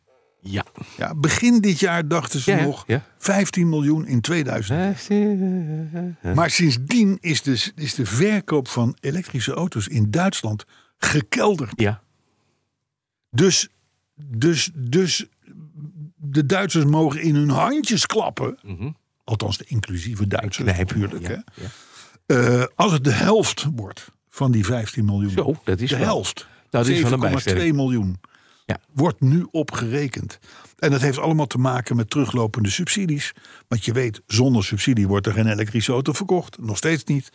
Speaker 3: Ja.
Speaker 2: Ja, begin dit jaar dachten ze
Speaker 3: Ja, ja,
Speaker 2: nog
Speaker 3: ja.
Speaker 2: 15 miljoen in 2000. Maar sindsdien is, dus, is de verkoop van elektrische auto's in Duitsland gekelderd.
Speaker 3: Ja,
Speaker 2: Dus, dus, dus de Duitsers mogen in hun handjes klappen. Althans, de inclusieve Duitsers
Speaker 3: Knijpen,
Speaker 2: natuurlijk.
Speaker 3: Mhm. ja,
Speaker 2: hè. Eh, als het de helft wordt van die 15 miljoen.
Speaker 3: Zo, dat is
Speaker 2: de
Speaker 3: wel-
Speaker 2: helft.
Speaker 3: dat is wel een
Speaker 2: 7,2
Speaker 3: bijstelling.
Speaker 2: miljoen.
Speaker 3: Ja.
Speaker 2: Wordt nu opgerekend. En dat heeft allemaal te maken met teruglopende subsidies. Want je weet, zonder subsidie wordt er geen elektrische auto verkocht. Nog steeds niet.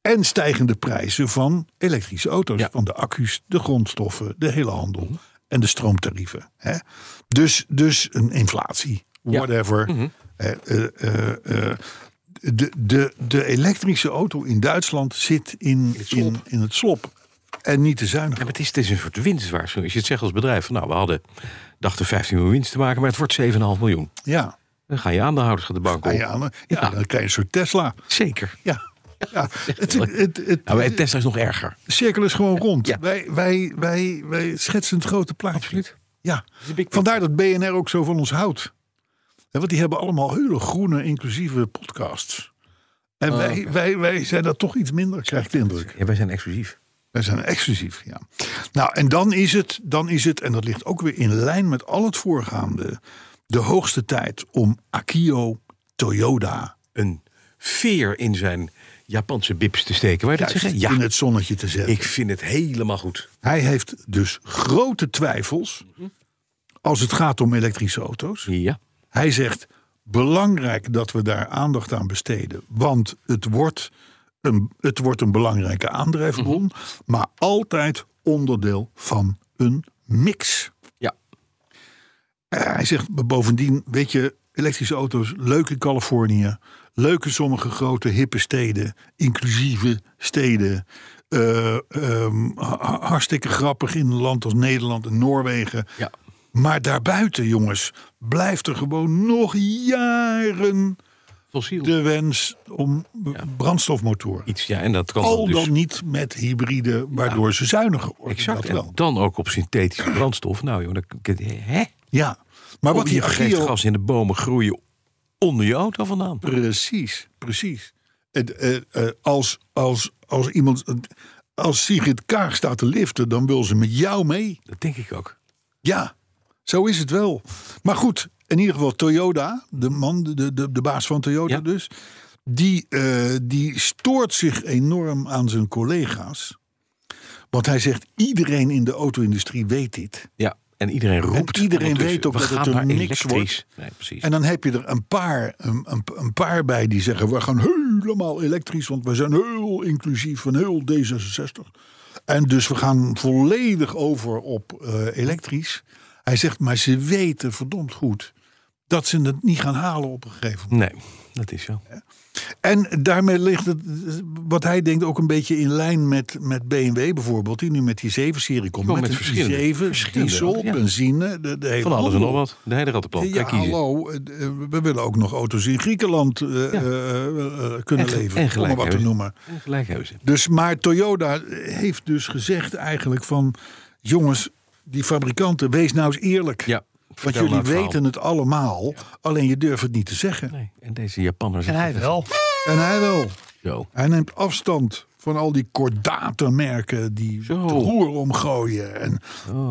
Speaker 2: En stijgende prijzen van elektrische auto's.
Speaker 3: Ja.
Speaker 2: Van de accu's, de grondstoffen, de hele handel. En de stroomtarieven. Hè? Dus, dus een inflatie, whatever. Eh, eh, eh, eh, de, de, de elektrische auto in Duitsland zit in, in, in het slop. En niet te zuinig.
Speaker 3: Ja, maar het is, het is een soort winstwaarschuwing. Als je het zegt als bedrijf, van, nou, we hadden dachten 15 miljoen winst te maken, maar het wordt 7,5 miljoen.
Speaker 2: Ja.
Speaker 3: Dan gaan je aandeelhouders gaan de bank op.
Speaker 2: Ah, ja, dan- ja,
Speaker 3: Ja.
Speaker 2: dan krijg je een soort Tesla.
Speaker 3: Zeker.
Speaker 2: Ja. ja. Het, het, het,
Speaker 3: Nou, bij
Speaker 2: het,
Speaker 3: Tesla is nog erger.
Speaker 2: de cirkel is gewoon rond.
Speaker 3: Ja.
Speaker 2: Wij, wij, wij, wij schetsen het grote plaatje.
Speaker 3: Absoluut.
Speaker 2: Ja.
Speaker 3: is een big
Speaker 2: Vandaar dat BNR ook zo van ons houdt. Ja, Want die hebben allemaal hele groene, inclusieve podcasts.
Speaker 3: Ah,
Speaker 2: En wij, wij, wij zijn dat toch iets minder, krijg ik de indruk.
Speaker 3: Ja, wij zijn exclusief.
Speaker 2: Wij zijn exclusief, ja. Nou, en dan is het, dan is het en dat ligt ook weer in lijn met al het voorgaande... de hoogste tijd om Akio Toyota
Speaker 3: Een veer in zijn Japanse bips te steken. Waar je dat
Speaker 2: juist
Speaker 3: zeggen? Ja,
Speaker 2: in het zonnetje te zetten.
Speaker 3: ik vind het helemaal goed.
Speaker 2: Hij heeft dus grote twijfels als het gaat om elektrische auto's.
Speaker 3: Ja.
Speaker 2: Hij zegt belangrijk dat we daar aandacht aan besteden, want het wordt een, het wordt een belangrijke aandrijfbron, maar altijd onderdeel van een mix.
Speaker 3: Ja.
Speaker 2: Eh, hij zegt bovendien, weet je, elektrische auto's leuk in Californië, leuk in sommige grote hippe steden, inclusieve steden. Eh, ehm, ha- ha- hartstikke grappig in een land als Nederland en Noorwegen.
Speaker 3: Ja.
Speaker 2: Maar daarbuiten, jongens, blijft er gewoon nog jaren
Speaker 3: Fossiel.
Speaker 2: de wens om b- brandstofmotoren.
Speaker 3: Iets, ja, en dat kan
Speaker 2: Al
Speaker 3: dus.
Speaker 2: Oh, dan niet met hybride, waardoor ze zuiniger worden.
Speaker 3: Exact.
Speaker 2: Dat wel.
Speaker 3: En dan ook op synthetische brandstof. Nou, joh, dan, hè?
Speaker 2: Ja. Maar wat
Speaker 3: Wat Oh, je
Speaker 2: die
Speaker 3: geeft
Speaker 2: Agio
Speaker 3: gas in de bomen groeien onder je auto vandaan.
Speaker 2: Precies, precies. Het, eh, eh, als, als, als iemand. Als Sigrid Kaag staat te liften, dan wil ze met jou mee.
Speaker 3: Dat denk ik ook.
Speaker 2: Ja, zo is het wel. Maar goed, in ieder geval Toyota, de man, de, de, de baas van Toyota
Speaker 3: Ja.
Speaker 2: dus. Die, eh, die stoort zich enorm aan zijn collega's. Want hij zegt, iedereen in de auto-industrie weet dit.
Speaker 3: Ja. En iedereen roept.
Speaker 2: En iedereen
Speaker 3: ondertussen,
Speaker 2: weet ook
Speaker 3: we
Speaker 2: dat
Speaker 3: gaan
Speaker 2: het er
Speaker 3: naar
Speaker 2: niks wordt.
Speaker 3: elektrisch. Nee, precies.
Speaker 2: En dan heb je er een paar, een, een, een paar bij die zeggen: we gaan helemaal elektrisch, want we zijn heel inclusief en heel D66. En dus we gaan volledig over op eh, elektrisch. Hij zegt: maar ze weten verdomd goed dat ze het niet gaan halen op een gegeven moment.
Speaker 3: Nee, dat is zo.
Speaker 2: En daarmee ligt het, eh, wat hij denkt, ook een beetje in lijn met, met BMW bijvoorbeeld, die nu met die 7-serie komt.
Speaker 3: Wel
Speaker 2: met
Speaker 3: met
Speaker 2: een
Speaker 3: verschillende-
Speaker 2: i7,
Speaker 3: verschillende,
Speaker 2: diesel,
Speaker 3: ja.
Speaker 2: benzine, de, de hele
Speaker 3: Van alles en nog
Speaker 2: handel.
Speaker 3: wat. De hele rattenplan.
Speaker 2: Ja,
Speaker 3: Kijk kiezen.
Speaker 2: hallo, eh, eh, we willen ook nog auto's in Griekenland eh, eh, eh, kunnen
Speaker 3: En ge-
Speaker 2: leveren,
Speaker 3: en gelijk
Speaker 2: om maar wat te
Speaker 3: hebben.
Speaker 2: noemen.
Speaker 3: En Gelijk hebben ze.
Speaker 2: Dus, maar Toyota heeft dus gezegd eigenlijk van... jongens, die fabrikanten, wees nou eens eerlijk.
Speaker 3: Ja.
Speaker 2: Want
Speaker 3: vertel
Speaker 2: jullie
Speaker 3: nou het verhaal.
Speaker 2: weten het allemaal, alleen je durft het niet te zeggen.
Speaker 3: Nee, en deze Japanner
Speaker 4: En
Speaker 3: zegt
Speaker 4: hij wel.
Speaker 2: En hij wel.
Speaker 3: zo.
Speaker 2: Hij neemt afstand van al die kordatenmerken die
Speaker 3: Zo. Oh.
Speaker 2: het roer omgooien... en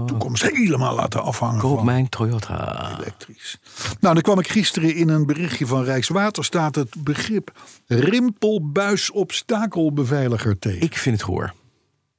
Speaker 2: toekomst helemaal laten afhangen
Speaker 3: Koop
Speaker 2: van
Speaker 3: mijn Toyota.
Speaker 2: elektrisch. Nou, dan kwam ik gisteren in een berichtje van Rijkswaterstaat het begrip rimpelbuisobstakelbeveiliger tegen.
Speaker 3: Ik vind het hoor.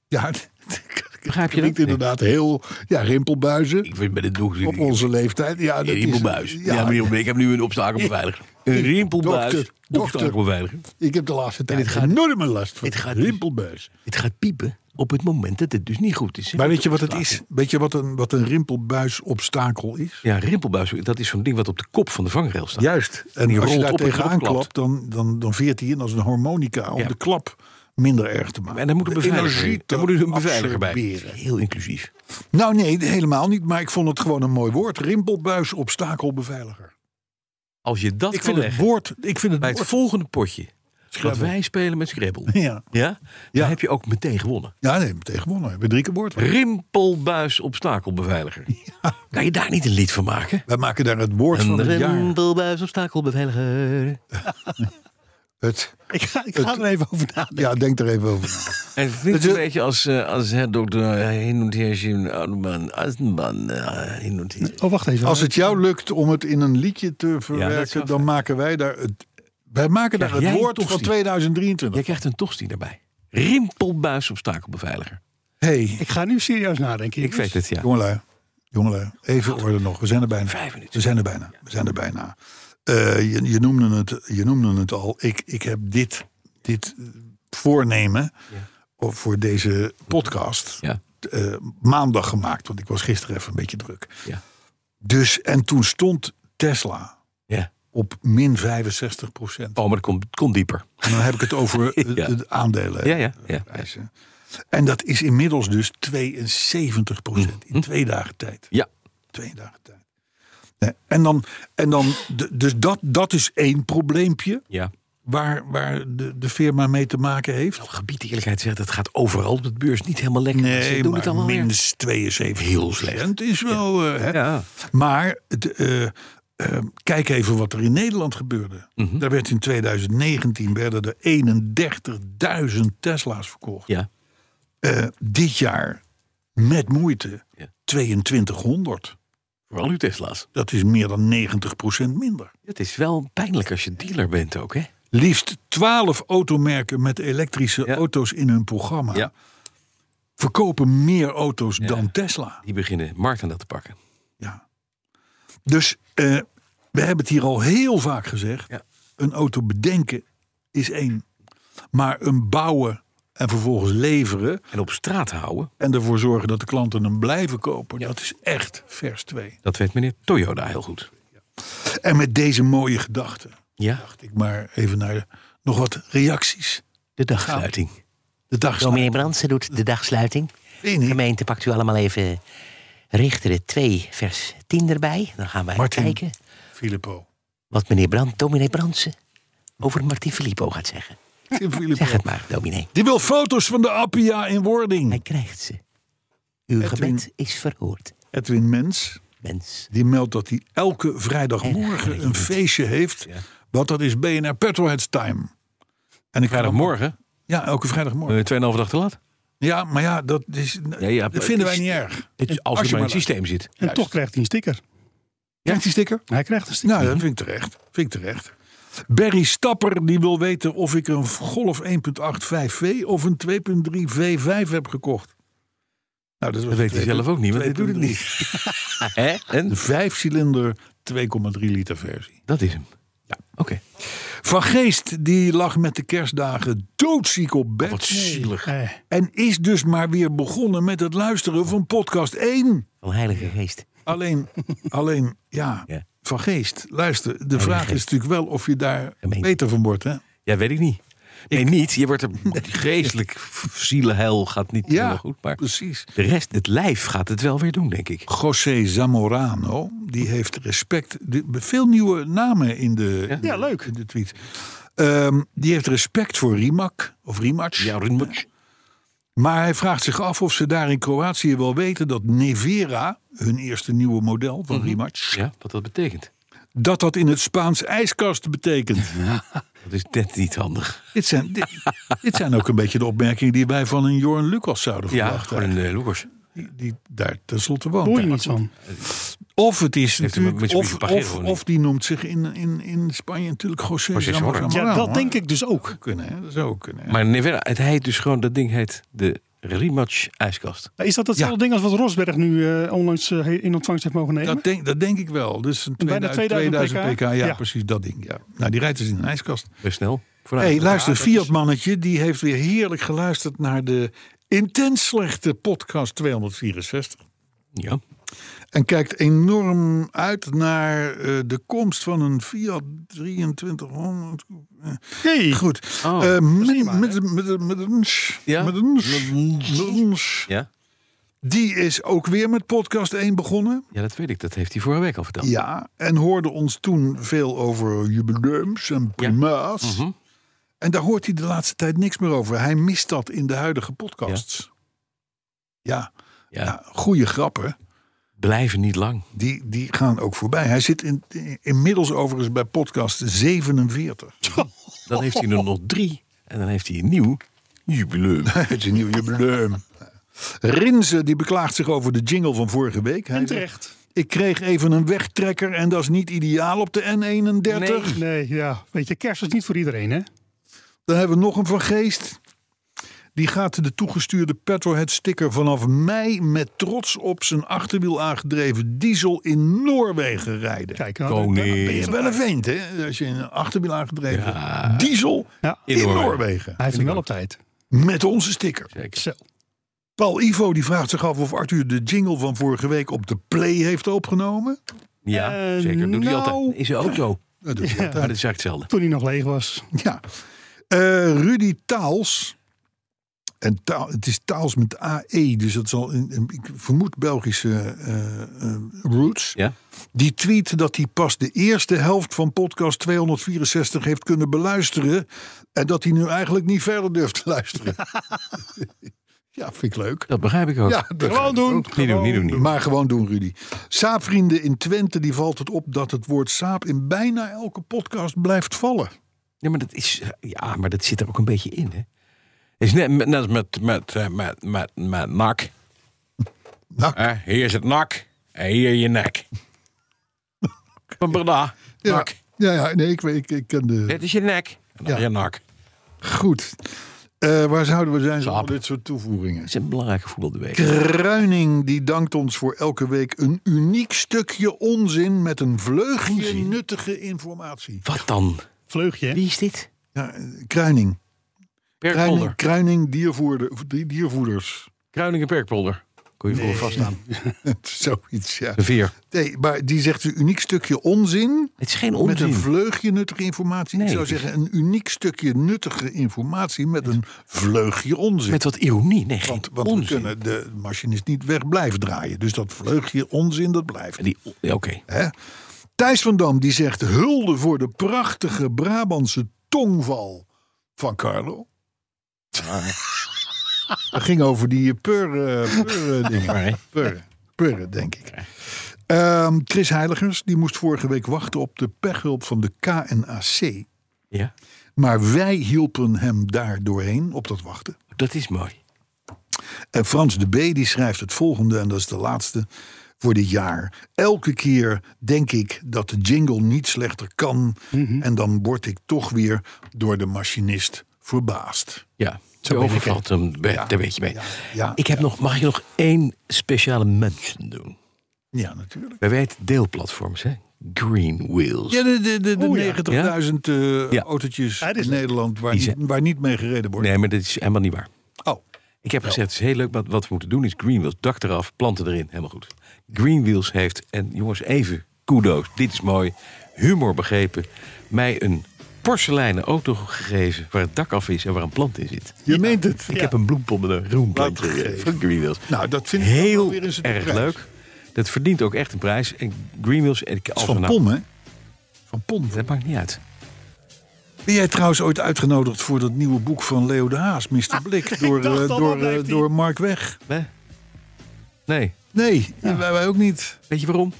Speaker 2: ja,
Speaker 3: Begrijp je dat?
Speaker 2: klinkt inderdaad heel. Ja, rimpelbuizen.
Speaker 3: Ik ben het
Speaker 2: Op onze leeftijd. Ja, dat
Speaker 3: Een
Speaker 2: is-
Speaker 3: riempelbuis. Ja,
Speaker 2: Ja,
Speaker 3: meneer, ik heb nu een obstakelbeveiliger. Een riempelbuis.
Speaker 2: Dokter, dokter.
Speaker 3: Obstakelbeveiliger.
Speaker 2: ik heb de laatste tijd
Speaker 3: dit gaat-
Speaker 2: enorme last van.
Speaker 3: dit gaat-
Speaker 2: rimpelbuis.
Speaker 3: Het gaat piepen op het moment dat het dus niet goed is. hè?
Speaker 2: Maar weet je wat het is? Weet je wat een, wat een rimpelbuisobstakel is?
Speaker 3: Ja, rimpelbuis, dat is zo'n ding wat op de kop van de vangrail staat.
Speaker 2: Juist. En
Speaker 3: Die
Speaker 2: als je
Speaker 3: rolt
Speaker 2: daar
Speaker 3: op en
Speaker 2: tegenaan
Speaker 3: klapt.
Speaker 2: klapt, dan, dan, dan veert hij in als een harmonica om
Speaker 3: Ja.
Speaker 2: de klap minder erg te maken.
Speaker 3: En daar moet een
Speaker 2: De
Speaker 3: beveiliger,
Speaker 2: energie
Speaker 3: daar
Speaker 2: te
Speaker 3: moet een beveiliger bij.
Speaker 2: absorberen.
Speaker 3: Heel inclusief.
Speaker 2: Nou nee, helemaal niet. Maar ik vond het gewoon een mooi woord. Rimpelbuis, obstakelbeveiliger.
Speaker 3: Als je dat
Speaker 2: Ik
Speaker 3: kan
Speaker 2: vind het
Speaker 3: leggen
Speaker 2: woord... Ik vind het
Speaker 3: bij het
Speaker 2: woord-
Speaker 3: volgende potje. Wat
Speaker 2: Scrabble.
Speaker 3: wij spelen met Scrabble.
Speaker 2: Ja,
Speaker 3: Ja?
Speaker 2: Ja.
Speaker 3: Dan heb je ook meteen gewonnen.
Speaker 2: ja nee, meteen gewonnen. We hebben drie keer woord.
Speaker 3: Rimpelbuis obstakelbeveiliger. Kan je daar niet een lied van maken?
Speaker 2: Wij maken daar het woord van
Speaker 3: Een
Speaker 2: het jaar.
Speaker 3: rimpelbuis obstakelbeveiliger.
Speaker 2: Het,
Speaker 4: Ik ga, ik ga er even over nadenken.
Speaker 2: ja, denk er even over na.
Speaker 3: Het klinkt
Speaker 2: Het
Speaker 3: een
Speaker 2: is-
Speaker 3: beetje als, eh, als hè, dokter heen en her, Jim, Oudeman, Eisenbahn, eh, heen en her.
Speaker 4: Oh, wacht even.
Speaker 2: Als het jou lukt om het in een liedje te verwerken...
Speaker 3: zou
Speaker 2: dan maken wij daar het... Wij maken daar
Speaker 3: Krijg
Speaker 2: het
Speaker 3: jij
Speaker 2: woord
Speaker 3: toch
Speaker 2: van
Speaker 3: die- Jij
Speaker 2: 2023.
Speaker 3: krijgt een tosti daarbij. Rimpelbuis obstakelbeveiliger.
Speaker 2: hey,
Speaker 4: Ik ga nu serieus nadenken.
Speaker 3: Ik weet het, ja.
Speaker 2: jongelui. Jongelui, even orde nog. We zijn er bijna.
Speaker 3: Vijf
Speaker 2: We
Speaker 3: minuten.
Speaker 2: zijn er bijna. We zijn er bijna. Eh, je, je, noemde het, je noemde het al. Ik, ik heb dit, dit eh, voornemen of voor deze podcast
Speaker 3: Ja.
Speaker 2: eh, maandag gemaakt. Want ik was gisteren even een beetje druk.
Speaker 3: Ja.
Speaker 2: Dus, en toen stond Tesla
Speaker 3: Ja.
Speaker 2: op min 65 procent.
Speaker 3: Oh, maar dat komt, het komt dieper.
Speaker 2: En dan heb ik het over eh,
Speaker 3: Ja.
Speaker 2: de aandelen.
Speaker 3: Ja, ja. ja.
Speaker 2: prijzen. En dat is inmiddels dus 72 procent in twee dagen tijd.
Speaker 3: Mhm. Ja.
Speaker 2: Twee dagen tijd. Nee, En dan, en dan d- dus dat, dat is één probleempje
Speaker 3: ja.
Speaker 2: waar, waar de, de firma mee te maken heeft.
Speaker 3: Nou, Gebied eerlijkheid zegt, het gaat overal op de beurs niet helemaal lekker. Ze
Speaker 2: Nee,
Speaker 3: doen het
Speaker 2: maar
Speaker 3: allemaal weer.
Speaker 2: minst 72 heel slecht. is wel. eh, hè.
Speaker 3: Ja.
Speaker 2: Maar het, eh, eh, kijk even wat er in Nederland gebeurde.
Speaker 3: Mhm.
Speaker 2: Daar werd in 2019 werden er 31.000 Tesla's verkocht.
Speaker 3: Ja.
Speaker 2: Eh, dit jaar met moeite
Speaker 3: Ja.
Speaker 2: 2200.
Speaker 3: Vooral uw Tesla's.
Speaker 2: Dat is meer dan 90% minder.
Speaker 3: Het is wel pijnlijk als je dealer bent ook, hè?
Speaker 2: Liefst 12 automerken met elektrische
Speaker 3: Ja.
Speaker 2: auto's in hun programma.
Speaker 3: Ja.
Speaker 2: Verkopen meer auto's dan Tesla.
Speaker 3: Die beginnen marktaandeel te pakken.
Speaker 2: Ja. Dus eh, we hebben het hier al heel vaak gezegd.
Speaker 3: Ja.
Speaker 2: Een auto bedenken is één. Maar een bouwen en vervolgens leveren.
Speaker 3: En op straat houden,
Speaker 2: En ervoor zorgen dat de klanten hem blijven kopen. Dat is echt vers 2.
Speaker 3: dat weet meneer Toyota heel goed.
Speaker 2: En met deze mooie gedachten.
Speaker 3: Ja,
Speaker 2: Dacht ik maar even naar de- nog wat reacties.
Speaker 3: de dagsluiting.
Speaker 2: De dag
Speaker 9: Dominee Brandsen doet de dagsluiting.
Speaker 2: Weet niet.
Speaker 9: Gemeente pakt u allemaal even Richteren 2 vers 10 erbij. Dan gaan wij
Speaker 2: Martin.
Speaker 9: kijken
Speaker 2: Filippo.
Speaker 9: wat meneer Brand, dominee Brandsen over Martin Filippo gaat zeggen.
Speaker 2: Tim Filippo.
Speaker 9: Zeg het maar, dominee.
Speaker 2: Die wil foto's van de Appia in
Speaker 9: Hij
Speaker 2: wording.
Speaker 9: krijgt ze. Uw
Speaker 2: Edwin.
Speaker 9: gebed is verhoord,
Speaker 2: Edwin Mens,
Speaker 9: mens.
Speaker 2: die meldt dat hij elke vrijdagmorgen een feestje heeft. Want dat is BNR Petrolheads Time. En ik
Speaker 3: Vrijdagmorgen,
Speaker 2: Ja, elke vrijdagmorgen.
Speaker 3: eh, 2,5 dag te laat.
Speaker 2: Ja, maar ja, dat, is,
Speaker 3: Ja, ja,
Speaker 2: dat vinden wij
Speaker 3: het is-
Speaker 2: niet erg.
Speaker 3: Het is als je
Speaker 2: je
Speaker 3: maar in
Speaker 2: maar
Speaker 3: het systeem zit.
Speaker 4: En toch krijgt hij een sticker.
Speaker 2: Krijgt die sticker?
Speaker 4: Hij krijgt een sticker.
Speaker 2: Nou,
Speaker 3: Mhm.
Speaker 2: dat vind ik terecht. Vind ik terecht. Barry Stapper die wil weten of ik een Golf 1.8 5V of een 2.3 V5 heb gekocht. Nou, dat, was
Speaker 3: Dat weet hij
Speaker 2: twee-
Speaker 3: zelf ook niet, want hij doet het
Speaker 2: 2.3.
Speaker 3: niet. Hè? En?
Speaker 2: De vijfcilinder 2,3 liter versie.
Speaker 3: Dat is hem. Ja, oké.
Speaker 2: Van Geest die lag met de kerstdagen doodziek op bed.
Speaker 3: Oh, Wat zielig.
Speaker 4: Eh,
Speaker 2: En is dus maar weer begonnen met het luisteren van podcast 1.
Speaker 10: Van Heilige Geest.
Speaker 2: Alleen, alleen ja,
Speaker 3: Ja. Oh,
Speaker 2: van geest. Luister, de vraag is
Speaker 3: Geest.
Speaker 2: natuurlijk wel of je daar
Speaker 3: Gemeen.
Speaker 2: beter van wordt. Hè?
Speaker 3: Ja, weet ik niet. Nee, niet. Je wordt er geestelijk zielenheil gaat niet
Speaker 2: Ja,
Speaker 3: helemaal goed. Maar
Speaker 2: precies.
Speaker 3: de rest, het lijf gaat het wel weer doen, denk ik.
Speaker 2: José Zamorano, die heeft respect. de- Veel nieuwe namen in de, in de-
Speaker 4: Ja, leuk.
Speaker 2: in de tweet. Ehm, die heeft respect voor Rimac of Rimac.
Speaker 3: Ja, Rinpoche.
Speaker 2: Maar hij vraagt zich af of ze daar in Kroatië wel weten dat Nevera, hun eerste nieuwe model van Rimac,
Speaker 3: Mhm. ja, wat dat betekent.
Speaker 2: dat dat in het Spaans ijskast betekent.
Speaker 3: Dat is net niet handig.
Speaker 2: Dit zijn, dit, dit zijn ook een beetje de opmerkingen die wij van een Jorn Lucas zouden
Speaker 3: Ja,
Speaker 2: verwachten.
Speaker 3: gewoon een eh, Lucas.
Speaker 2: die, die daar tenslotte
Speaker 4: hoor je
Speaker 2: woont.
Speaker 4: niets van.
Speaker 2: Of het is
Speaker 3: hem een
Speaker 2: natuurlijk,
Speaker 3: beetje
Speaker 2: of,
Speaker 3: pagero,
Speaker 2: of,
Speaker 3: niet?
Speaker 2: of die noemt zich in, in, in Spanje natuurlijk José,
Speaker 3: José
Speaker 2: Zamora-
Speaker 3: Zamora.
Speaker 4: Ja,
Speaker 2: Zamorano,
Speaker 4: dat
Speaker 2: hè?
Speaker 4: denk ik dus ook.
Speaker 2: Dat zou kunnen, hè? Dat zou ook kunnen. hè?
Speaker 3: Maar Nevera, het heet dus gewoon, dat ding heet de Rimatch ijskast.
Speaker 4: Maar Eh, Is dat hetzelfde
Speaker 2: Ja.
Speaker 4: ding als wat Rosberg nu eh, onlangs eh, in ontvangst heeft mogen nemen?
Speaker 2: dat, denk, dat denk ik wel. Dus een
Speaker 4: Bijna
Speaker 2: 2000, 2000 pk,
Speaker 4: 2000
Speaker 2: ja,
Speaker 4: Ja.
Speaker 2: precies dat ding. Ja. Nou, die rijdt dus in een ijskast.
Speaker 3: Best snel. Vooruit.
Speaker 2: hey, luister,
Speaker 3: Ja, dat is-
Speaker 2: Fiat-mannetje die heeft weer heerlijk geluisterd naar de intens slechte podcast 264.
Speaker 3: Ja,
Speaker 2: En kijkt enorm uit naar eh, de komst van een Fiat 2300.
Speaker 4: Hey.
Speaker 2: Goed.
Speaker 3: Oh,
Speaker 2: Eh, met, met, met, met een s-
Speaker 3: Ja?
Speaker 2: met een s- met een s-
Speaker 3: ja.
Speaker 2: Die is ook weer met podcast 1 begonnen.
Speaker 3: ja, dat weet ik. Dat heeft hij vorige week al verteld.
Speaker 2: Ja, en hoorde ons toen veel over jubileums en prima's. En daar hoort hij de laatste tijd niks meer over. Hij mist dat in de huidige podcasts. Ja,
Speaker 3: Ja.
Speaker 2: ja goede grappen.
Speaker 3: Blijven niet lang.
Speaker 2: Die, die gaan ook voorbij. Hij zit in, inmiddels overigens bij podcast 47.
Speaker 3: Dan heeft hij er nog drie. En dan heeft hij een nieuw jubileum.
Speaker 2: Het is een nieuw jubileum. Rinze die beklaagt zich over de jingle van vorige week. Hij
Speaker 4: En
Speaker 2: zegt,
Speaker 4: terecht.
Speaker 2: ik kreeg even een wegtrekker en dat is niet ideaal op de N31.
Speaker 4: Nee, ja. Weet je, kerst is niet voor iedereen, hè?
Speaker 2: Dan hebben we nog een van Geest. Die gaat de toegestuurde petrolhead sticker vanaf mei met trots op zijn achterwiel aangedreven diesel in Noorwegen rijden.
Speaker 4: Kijk, nou,
Speaker 3: Oh,
Speaker 4: dat-
Speaker 2: Ben je
Speaker 3: Koning.
Speaker 2: wel een vent, hè? Als je een achterwiel aangedreven diesel
Speaker 4: Ja.
Speaker 2: in,
Speaker 3: In Noorwegen.
Speaker 2: Noorwegen.
Speaker 4: Hij heeft hem wel op tijd.
Speaker 2: Met onze sticker.
Speaker 4: Zo.
Speaker 2: Paul Ivo die vraagt zich af of Arthur de jingle van vorige week op de play heeft opgenomen.
Speaker 3: Ja,
Speaker 4: Eh,
Speaker 3: zeker. Doet hij
Speaker 4: nou.
Speaker 3: altijd. In zijn auto.
Speaker 2: Dat doet hij
Speaker 3: Maar
Speaker 2: altijd.
Speaker 3: dat is eigenlijk hetzelfde.
Speaker 4: Toen hij nog leeg was.
Speaker 2: Ja. Eh, Rudy Taals. En Taal, het is Taals met AE, dus dat zal, in, in- ik vermoed, Belgische eh, eh, roots.
Speaker 3: Ja.
Speaker 2: Die tweet dat hij pas de eerste helft van podcast 264 heeft kunnen beluisteren. En dat hij nu eigenlijk niet verder durft te luisteren. ja, vind ik leuk.
Speaker 3: Dat begrijp ik ook.
Speaker 2: Ja, dat
Speaker 4: Gewoon doen.
Speaker 3: Niet doen, niet doen, niet.
Speaker 2: maar gewoon doen, Rudy. Saapvrienden in Twente, die valt het op dat het woord saap in bijna elke podcast blijft vallen.
Speaker 3: Ja, maar dat, is, ja, maar dat zit er ook een beetje in, hè? Is net, net als met, met, eh, met, met, met nak.
Speaker 2: Nak.
Speaker 3: Hè, hier is het nak en hier je nek. Van Breda,
Speaker 2: Ja,
Speaker 3: nak.
Speaker 2: ja, ja nee, ik, weet- ik, ik ken de...
Speaker 3: Dit is je nek en dan
Speaker 2: Ja.
Speaker 3: je nak.
Speaker 2: Goed. Eh, waar zouden we zijn
Speaker 3: Saap.
Speaker 2: zonder dit soort toevoegingen?
Speaker 3: Dat is een belangrijke voetbalbeweging.
Speaker 2: Kruining die dankt ons voor elke week een uniek stukje onzin met een vleugje
Speaker 3: Onzin?
Speaker 2: nuttige informatie.
Speaker 3: Wat dan?
Speaker 4: Vleugje, hè?
Speaker 3: Wie is dit?
Speaker 2: Ja, eh, Kruining. Kruining,
Speaker 3: Perkpolder.
Speaker 2: Kruining diervoerder, die- diervoerders.
Speaker 3: Kruining en Perkpolder. Kon je voor vaststaan.
Speaker 2: Zoiets, ja.
Speaker 3: De veer.
Speaker 2: Nee, maar die zegt een uniek stukje onzin
Speaker 3: Het is geen
Speaker 2: met
Speaker 3: onzin.
Speaker 2: een vleugje nuttige informatie.
Speaker 3: Nee,
Speaker 2: Ik zou
Speaker 3: het is-
Speaker 2: zeggen een uniek stukje nuttige informatie met een vleugje onzin.
Speaker 3: Met wat ironie. Nee, geen
Speaker 2: Want, want we
Speaker 3: onzin.
Speaker 2: kunnen de machinist niet weg blijven draaien. Dus dat vleugje onzin, dat blijft.
Speaker 3: En die, ja, oké.
Speaker 2: Hè? Thijs van Dam die zegt hulde voor de prachtige Brabantse tongval van Carlo.
Speaker 3: Ah.
Speaker 2: Dat ging over die purren-dingen.
Speaker 3: Maar, hè,
Speaker 2: Purren, purren, denk ik. Ehm, Chris Heiligers die moest vorige week wachten op de pechhulp van de KNAC.
Speaker 3: ja,
Speaker 2: Maar wij hielpen hem daar doorheen op dat wachten.
Speaker 3: dat is mooi.
Speaker 2: En Frans de B. die schrijft het volgende, en dat is de laatste voor dit jaar. Elke keer denk ik dat de Mhm. jingle niet slechter kan. En dan word ik toch weer door de machinist verbaasd.
Speaker 3: Ja,
Speaker 2: Zo
Speaker 3: zo
Speaker 2: ben ik,
Speaker 3: overvalt hem be-
Speaker 2: Ja,
Speaker 3: daar een beetje mee.
Speaker 2: ja, ja,
Speaker 3: ik heb
Speaker 2: ja.
Speaker 3: nog, mag ik nog één speciale mention doen?
Speaker 2: Ja, natuurlijk.
Speaker 3: Wij weten deelplatforms, hè? Green Wheels.
Speaker 2: Ja, de, de, de, de
Speaker 4: Oh, ja.
Speaker 2: 90.000 eh,
Speaker 3: Ja.
Speaker 2: autootjes
Speaker 4: Ja, dit is-
Speaker 2: in Nederland waar,
Speaker 3: Die
Speaker 2: niet- waar niet mee gereden wordt.
Speaker 3: Nee, maar dat is helemaal niet waar.
Speaker 2: Oh,
Speaker 3: Ik heb gezegd, het is heel leuk, maar wat we moeten doen is Green Wheels. Dak eraf, planten erin, helemaal goed. Green Wheels heeft, en jongens, even kudo's, dit is mooi, humor begrepen. Mij een porseleinen auto gegeven waar het dak af is en waar een plant in zit.
Speaker 2: je meent het.
Speaker 3: Ik heb een bloempot met een roemplant
Speaker 2: Laat
Speaker 3: gegeven
Speaker 2: gegeven.
Speaker 3: van Green Wheels.
Speaker 2: Nou, dat vind ik wel
Speaker 3: Heel
Speaker 2: weer eens een
Speaker 3: erg
Speaker 2: prijs.
Speaker 3: leuk. Dat verdient ook echt een prijs. En Green Wheels... En ik,
Speaker 2: Het
Speaker 3: als
Speaker 2: is
Speaker 3: we
Speaker 2: van
Speaker 3: nou-
Speaker 2: Pom, hè? Van Pom.
Speaker 3: Dat maakt niet uit.
Speaker 2: Ben jij trouwens ooit uitgenodigd voor dat nieuwe boek van Leo de Haas, Mr. Blik, door,
Speaker 4: dacht
Speaker 2: eh,
Speaker 4: al,
Speaker 2: door,
Speaker 4: wat heeft
Speaker 2: eh,
Speaker 4: hij?
Speaker 2: door Mark Weg?
Speaker 3: Nee. nee.
Speaker 2: Nee, wij, wij ook niet.
Speaker 3: Weet je waarom?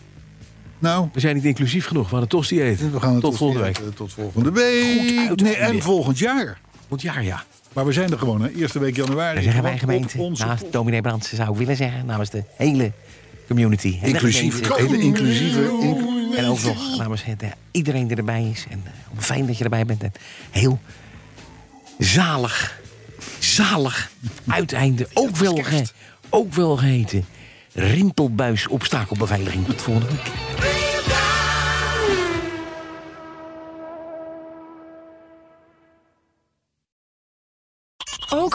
Speaker 2: Nou,
Speaker 3: We zijn niet inclusief genoeg. We hadden toch dieet.
Speaker 2: we gaan het
Speaker 3: Tot volgende week.
Speaker 2: eh, Tot volgende week.
Speaker 3: uit,
Speaker 2: Nee, en
Speaker 3: meneer.
Speaker 2: volgend jaar.
Speaker 3: Want ja, ja.
Speaker 2: Maar we zijn er gewoon, hè? Eerste week januari.
Speaker 9: Daar zeggen
Speaker 2: Gewoon
Speaker 9: wij
Speaker 2: op
Speaker 9: gemeente,
Speaker 2: onze
Speaker 9: naast
Speaker 2: kop.
Speaker 9: dominee Brands zou ik willen zeggen, namens de hele community. En de
Speaker 2: Inclusief,
Speaker 9: gemeente.
Speaker 2: hele inclusieve.
Speaker 9: En ook nog namens het, eh, iedereen die erbij is. En eh, fijn dat je erbij bent. En heel zalig, zalig uiteinde. Ook wel, ge, ook wel geheten. Rimpelbuis obstakelbeveiliging. Tot volgende week.
Speaker 1: Ook